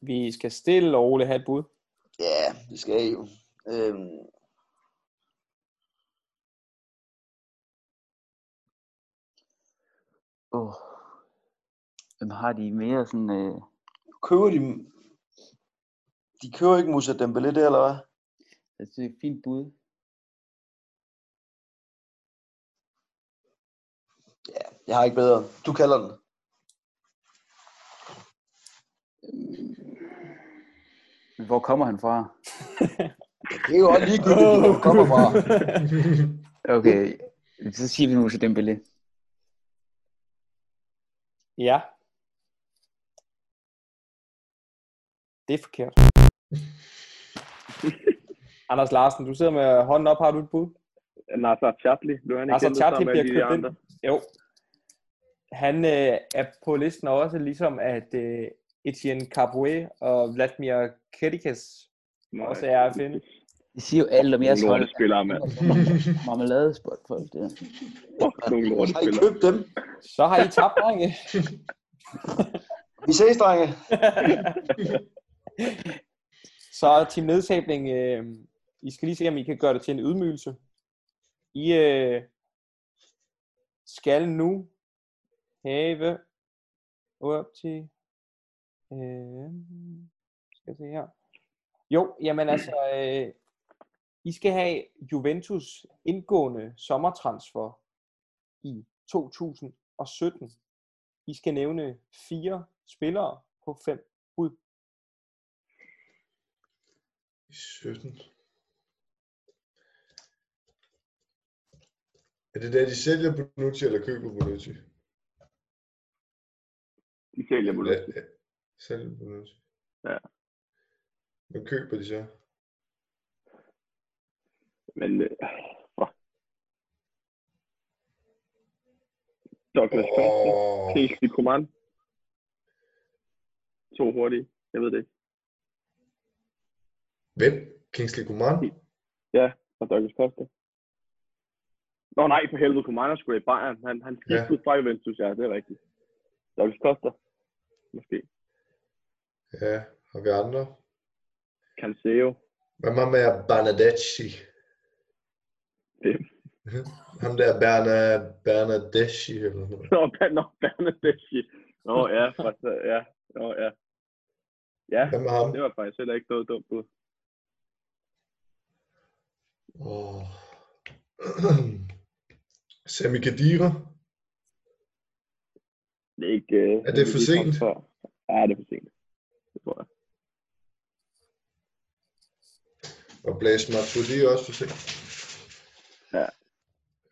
Vi skal stille og roligt have et bud. Ja, det skal jeg jo. Øhm, oh. Hvem har de mere sådan... Øh, køber de... De køber ikke Moussa Dembélé der, eller hvad? jeg synes, det er et fint bud. Jeg har ikke bedre. Du kalder den. Men Hvor kommer han fra? Det er jo også ligegyldigt, hvor du kommer fra. Okay, så siger vi nu til Dembélé. Ja. Det er forkert. Anders Larsen, du sidder med hånden op. Har du et bud? Nasser Chatli, blev han ikke Nasser hentet Chatli sammen med Altså, bliver alle de købt der ind. andre? Jo. Han øh, er på listen også, ligesom at øh, Etienne Capoue og Vladimir Kedikes Nej. også er at finde. Det siger jo alt om jeres Nogle hold. lortespillere, mand. Marmeladespot folk der. Fuck, nogle Har I lortespillere. købt dem? Så har I tabt, drenge. Vi ses, drenge. Så til nedsætning, øh, I skal lige se, om I kan gøre det til en ydmygelse. I øh, skal nu have op til... Øh, skal jeg se her. Jo, jamen altså, øh, I skal have Juventus indgående sommertransfer i 2017. I skal nævne fire spillere på fem bud. I 17. Er det der, de sælger Bonucci eller køber Bonucci? De sælger på Ja, ja. Sælger Bonucci. Ja. Hvad køber de så? Men, øh, fuck. Douglas Costa, Åh, Kingsley Coman. To hurtige, jeg ved det ikke. hvem? Kingsley Coman? Og Douglas Costa. Nå nej, for helvede, Coman er sgu i Bayern. Han, han skiftede ja. fra Juventus, ja, det er rigtigt. Douglas Costa, måske. Ja, har vi andre? Cancelo. Hvad med med Bernadeschi? Hvem? Ham der Berna, Bernadeschi eller sådan noget. Nå, Ban- nå, Bernadeschi. Nå, ja, for, så- ja, nå, ja. Ja, Hvad med ham? det var faktisk heller ikke noget dumt bud. Åh. Sami Khedira? Det er ikke... Øh, Er det for sent? Før. Ja, det er for sent. Det tror jeg. Og Blaise Matuidi er også for sent. Ja.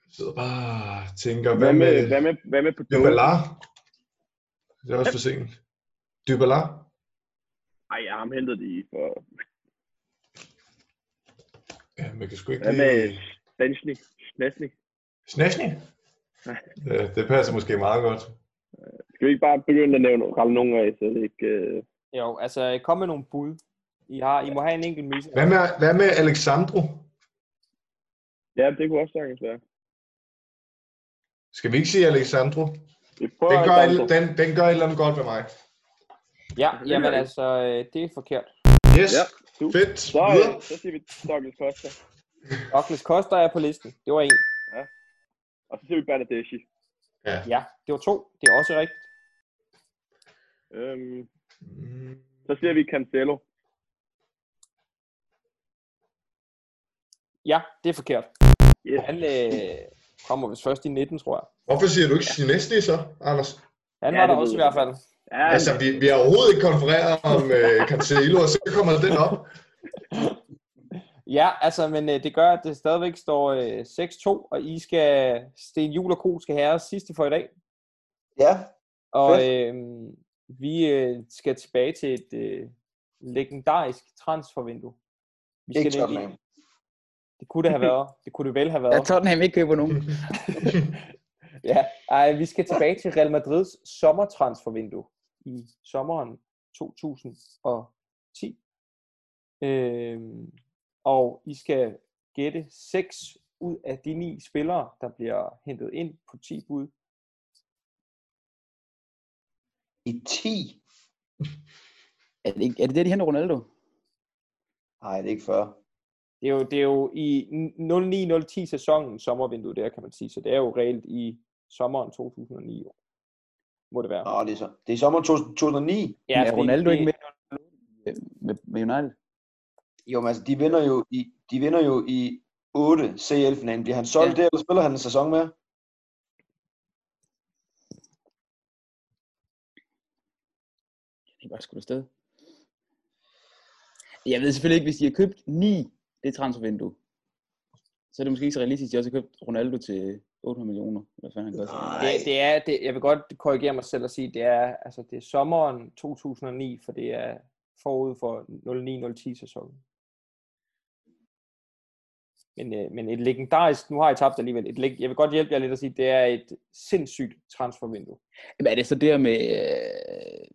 Jeg sidder bare og tænker, Hvad med, hvad med med, hvad med på Dybala? Det er også for sent. Dybala? Ej, ja, ham hentede de for... Ja, man kan sgu ikke Hvad med lige... Stansley? Stansley? Snasny? Det, det passer måske meget godt. Skal vi ikke bare begynde at nævne ramme nogen af, så det ikke... Øh... Jo, altså kom med nogle bud. I, har, I må have en enkelt mise. Hvad med, hvad med Alexandro? Ja, det kunne også sagtens være. Skal vi ikke sige Alexandro? Vi prøver Den at gør, danse. et- den, den gør et eller andet godt ved mig. Ja, jamen altså, øh, det er forkert. Yes, Ja, super. fedt. Så, Videre. øh, så siger vi Douglas Costa, Douglas Costa er på listen. Det var en. og så siger vi Bernadeschi. Ja. Ja, det var to. Det er også rigtigt. Øhm, Mm, så siger vi Cancelo. Ja, det er forkert. Yes. Han øh, kommer vist først i 19, tror jeg. Hvorfor siger du ikke Sinesti så, Anders? Han ja, Ja, var det der ved også i jeg. hvert fald. Ja, Altså, vi, vi har overhovedet ikke konfereret om øh, Cancelo, og så kommer den op. Ja, altså, men øh, det gør, at det stadigvæk står øh, 6-2, og I skal, Sten Jul og Ko skal have jeres sidste for i dag. Ja, Og øh, vi øh, skal tilbage til et øh, legendarisk transfervindue. Vi ikke skal nemlig- Tottenham. Det kunne det have været. Det kunne det vel have Ja, været. Tottenham ikke køber nogen. Ja, ej, vi skal tilbage til Real Madrids sommertransfervindue i sommeren 2010. Øhm, og I skal gætte 6 ud af de 9 spillere, der bliver hentet ind på 10 bud. I 10? Er det, ikke, er det det, de henter Ronaldo? Nej, det er ikke 40. Det er jo, det er jo i 09-10 sæsonen sommervinduet der, kan man sige. Så det er jo reelt i sommeren 2009. Må det være. Nå, det er, så. det er sommer 2009. Ja, er fordi Ronaldo det- ikke med, med, med United? Jo, men altså, de vinder jo i, de vinder jo i 8 CL-finalen. Bliver han solgt Ja. ja. der, eller spiller han en sæson mere? Det var sgu da sted. Jeg ved selvfølgelig ikke, hvis de har købt 9, det transfervindue, så er det måske ikke så realistisk, at de også har købt Ronaldo til 800 millioner. Hvad fanden han koster. Det, det er, det, jeg vil godt korrigere mig selv og sige, det er, altså, det er sommeren 2009, for det er forud for 09-10 sæsonen. Men, øh, men et legendarisk, nu har jeg tabt alligevel, et, leg- jeg vil godt hjælpe jer lidt at sige, det er et sindssygt transfervindue. Jamen, er det så der med øh,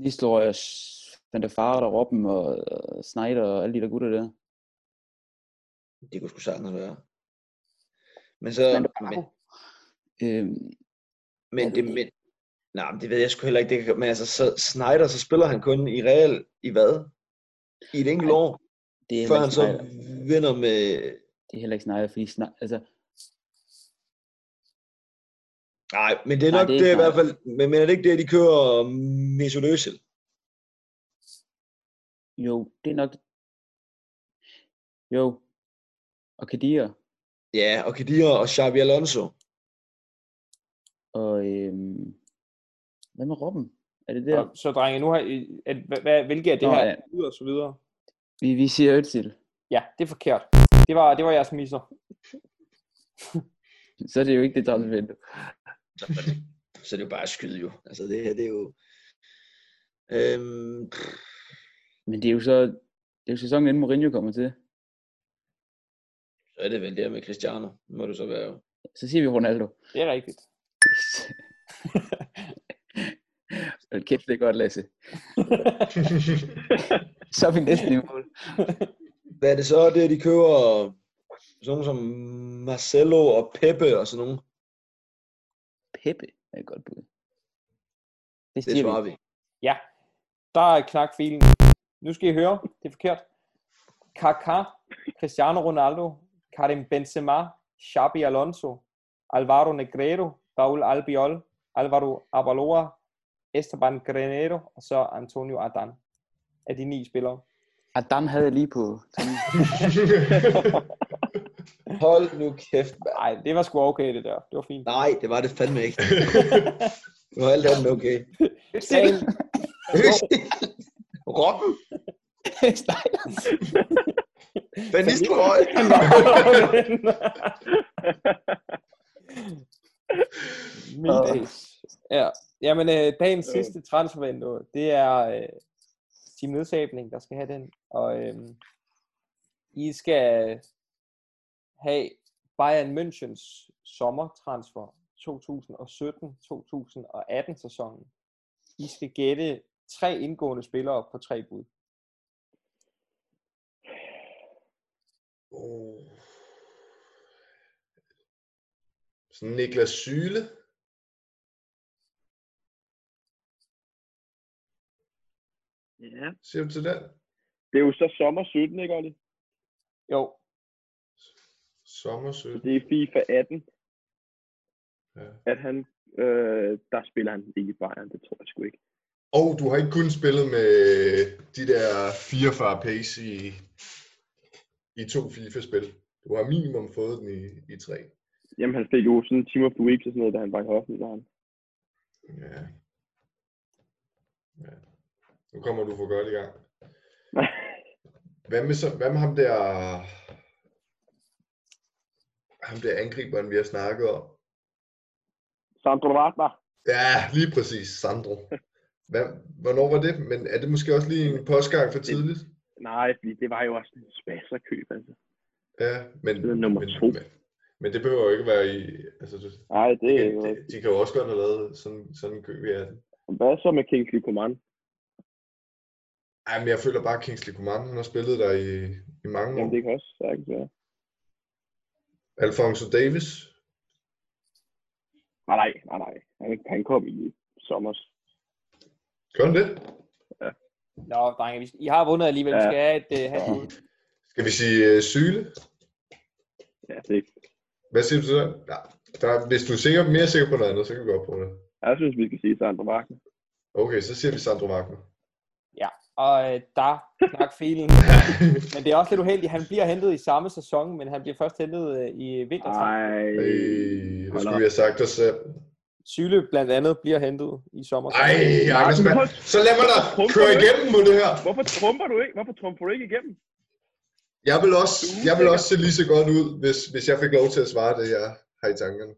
Nistelrøy og Van der Fart og Robben og, og Snyder og alle de der gutter der? Det kunne sgu sagtens være. Men så... Fernando Men, Araujo. Øhm, men, Ja, det det, ved jeg men, nej, men det ved jeg sgu heller ikke. Det, kan- men altså, så Snyder, så spiller han kun i Real i hvad? I et enkelt Ej, år, det, er før heller han ikke så Snyder. vinder med... det er heller ikke Snyder, fordi Snyder, altså, Nej, men det er Nej, nok det det, det er ikke i hvert fald... Men, men er det ikke det, de kører øh, Mesut Özil? jo, det er nok... Jo. Og Kadir Ja, og Kadir og Xabi Alonso. og... Øhm, hvad med Robben? Er det der? Ja. Så drenge, nu har I, at, hvad, hvad, hvilke af det Nå, her ja. bud og så videre? Vi, vi siger Özil. Ja, det er forkert. Det var, det var jeres misser. Så er det jo ikke det transfervindue. Så er det- så er det jo bare at skyde jo. Altså det her, det er jo... Øhm, pff, Men det er jo så... Det er jo sæsonen, inden Mourinho kommer til. så er det vel det her med Cristiano, må det så være jo. Så siger vi Ronaldo. Det er rigtigt. Yes. Hold kæft, det er godt, Lasse. Så er vi næsten i mål. Hvad er det så, det er, de køber sådan nogle som Marcelo og Pepe og sådan nogle? Peppe er et godt bud. Det Det siger svarer vi. vi. Der er knak filen. Nu skal I høre, det er forkert. Kaká, Cristiano Ronaldo, Karim Benzema, Xabi Alonso, Alvaro Negredo, Raul Albiol, Alvaro Abaloa, Esteban Granero og så Antonio Adan af de ni spillere. Adam havde jeg lige på. Hold nu kæft, mand. Nej, det var sgu okay det der. Det var fint. Nej, det var det fandme ikke. Nu er alt andet okay. Sagen, Robben, Snyder. Van Nistelrooy. Min days. Ja. Jamen, øh, dagens sidste transfervindue, det er øh, Team Nedsabning, der skal have den. Og øh, I skal have Bayern Münchens sommertransfer 2017-2018 sæsonen. I skal gætte tre indgående spillere på tre bud. Oh. Sådan Niklas Syle. Ja. Siger du til den? Det er jo så sommer 17, ikke Olli? Jo, Sommersø. Så det er FIFA 18, Ja. at han, øh, der spiller han ikke i Bayern, det tror jeg sgu ikke. Og du har ikke kun spillet med de der 44 pace i, i to FIFA-spil. Du har minimum fået den i, i tre. Jamen han fik jo sådan en team of the week og sådan noget, da han var i Hoffenheim. Ja. ja. Nu kommer du for godt i gang. Hvad med, så, hvad med ham der... Ham der angriberen, vi har snakket om. Sandro Wagner. Ja, lige præcis, Sandro. Hvad, hvornår var det? Men er det måske også lige en postgang for tidligt? Nej, fordi det var jo også en spasser køb, altså. Ja, men, Det er nummer men, to. Men, men det behøver jo ikke være i... Altså, du, Nej, det er jo... de, de kan jo også godt have lavet sådan, sådan en kø i 18. Hvad så med Kingsley Coman? Ej, men jeg føler bare, at Kingsley Coman han har spillet der i, i mange år. Jamen det kan også sagtens være. Alfonso Davis. Nej, nej, nej, nej. Han, han kom i sommer. Gør han det? Nå, drenge, vi- I har vundet alligevel. Vi Ja. skal have et øh, halvt Ja. bud. Skal vi sige uh, Syle? Ja, det, Hvad siger du til det? Ja, der, hvis du er sikker, mere sikker på noget andet, så kan vi godt prøve det. jeg synes, vi skal sige Sandro Wagner. Okay, så siger vi Sandro Wagner. Og øh, der knak felen. Men det er også lidt uheldigt. Han bliver hentet i samme sæson, men han bliver først hentet øh, i vintertræk. Ej, Øh, det hold skulle op. vi have sagt os selv. Syle blandt andet bliver hentet i sommer. Ej, Anders, men mand. hold- Så lad mig da Trumfer køre du ikke? igennem på det her. Hvorfor trumper du ikke? Hvorfor trumper du ikke igennem? Jeg vil også, Du er jeg vil usikker. også se lige så godt ud, hvis, hvis jeg fik lov til at svare det, jeg har i tankerne.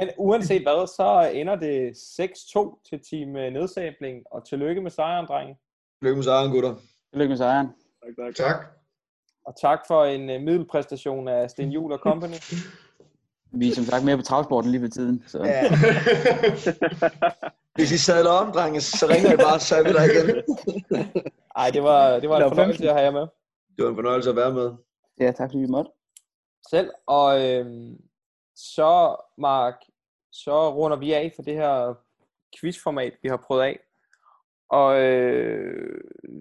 Men uanset hvad, så øh, ender det 6-2 til team øh, nedsabling. Og tillykke med sejren, drenge. Lykke med sejren, gutter. Tillykke med sejren. Tak, tak. Tak. Og tak for en øh, middelpræstation af Sten Juhl og Company. Vi er som sagt mere på travsporten lige ved tiden. Så. Ja. Hvis I sadler om, drenge, så ringer I bare, så er vi der igen. Ej, det var, det var Nå, en hvem- fornøjelse at have jer med. Det var en fornøjelse at være med. ja tak fordi vi måtte. selv. Og øhm, så, Mark, så runder vi af for det her quizformat, vi har prøvet af. Og øh,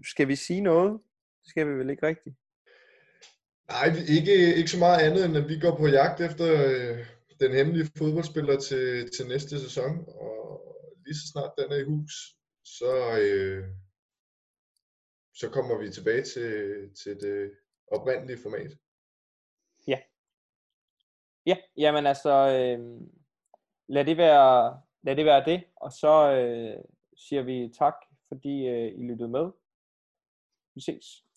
skal vi sige noget? Det skal vi vel ikke rigtigt. Nej, vi- ikke, ikke så meget andet, end at vi går på jagt efter øh, den hemmelige fodboldspiller til, til næste sæson. Og lige så snart den er i hus, så, øh, så kommer vi tilbage til, til det oprindelige format. Ja, jamen altså, øh, lad, det være, lad det være det. Og så øh, siger vi tak, fordi øh, I lyttede med. Vi ses.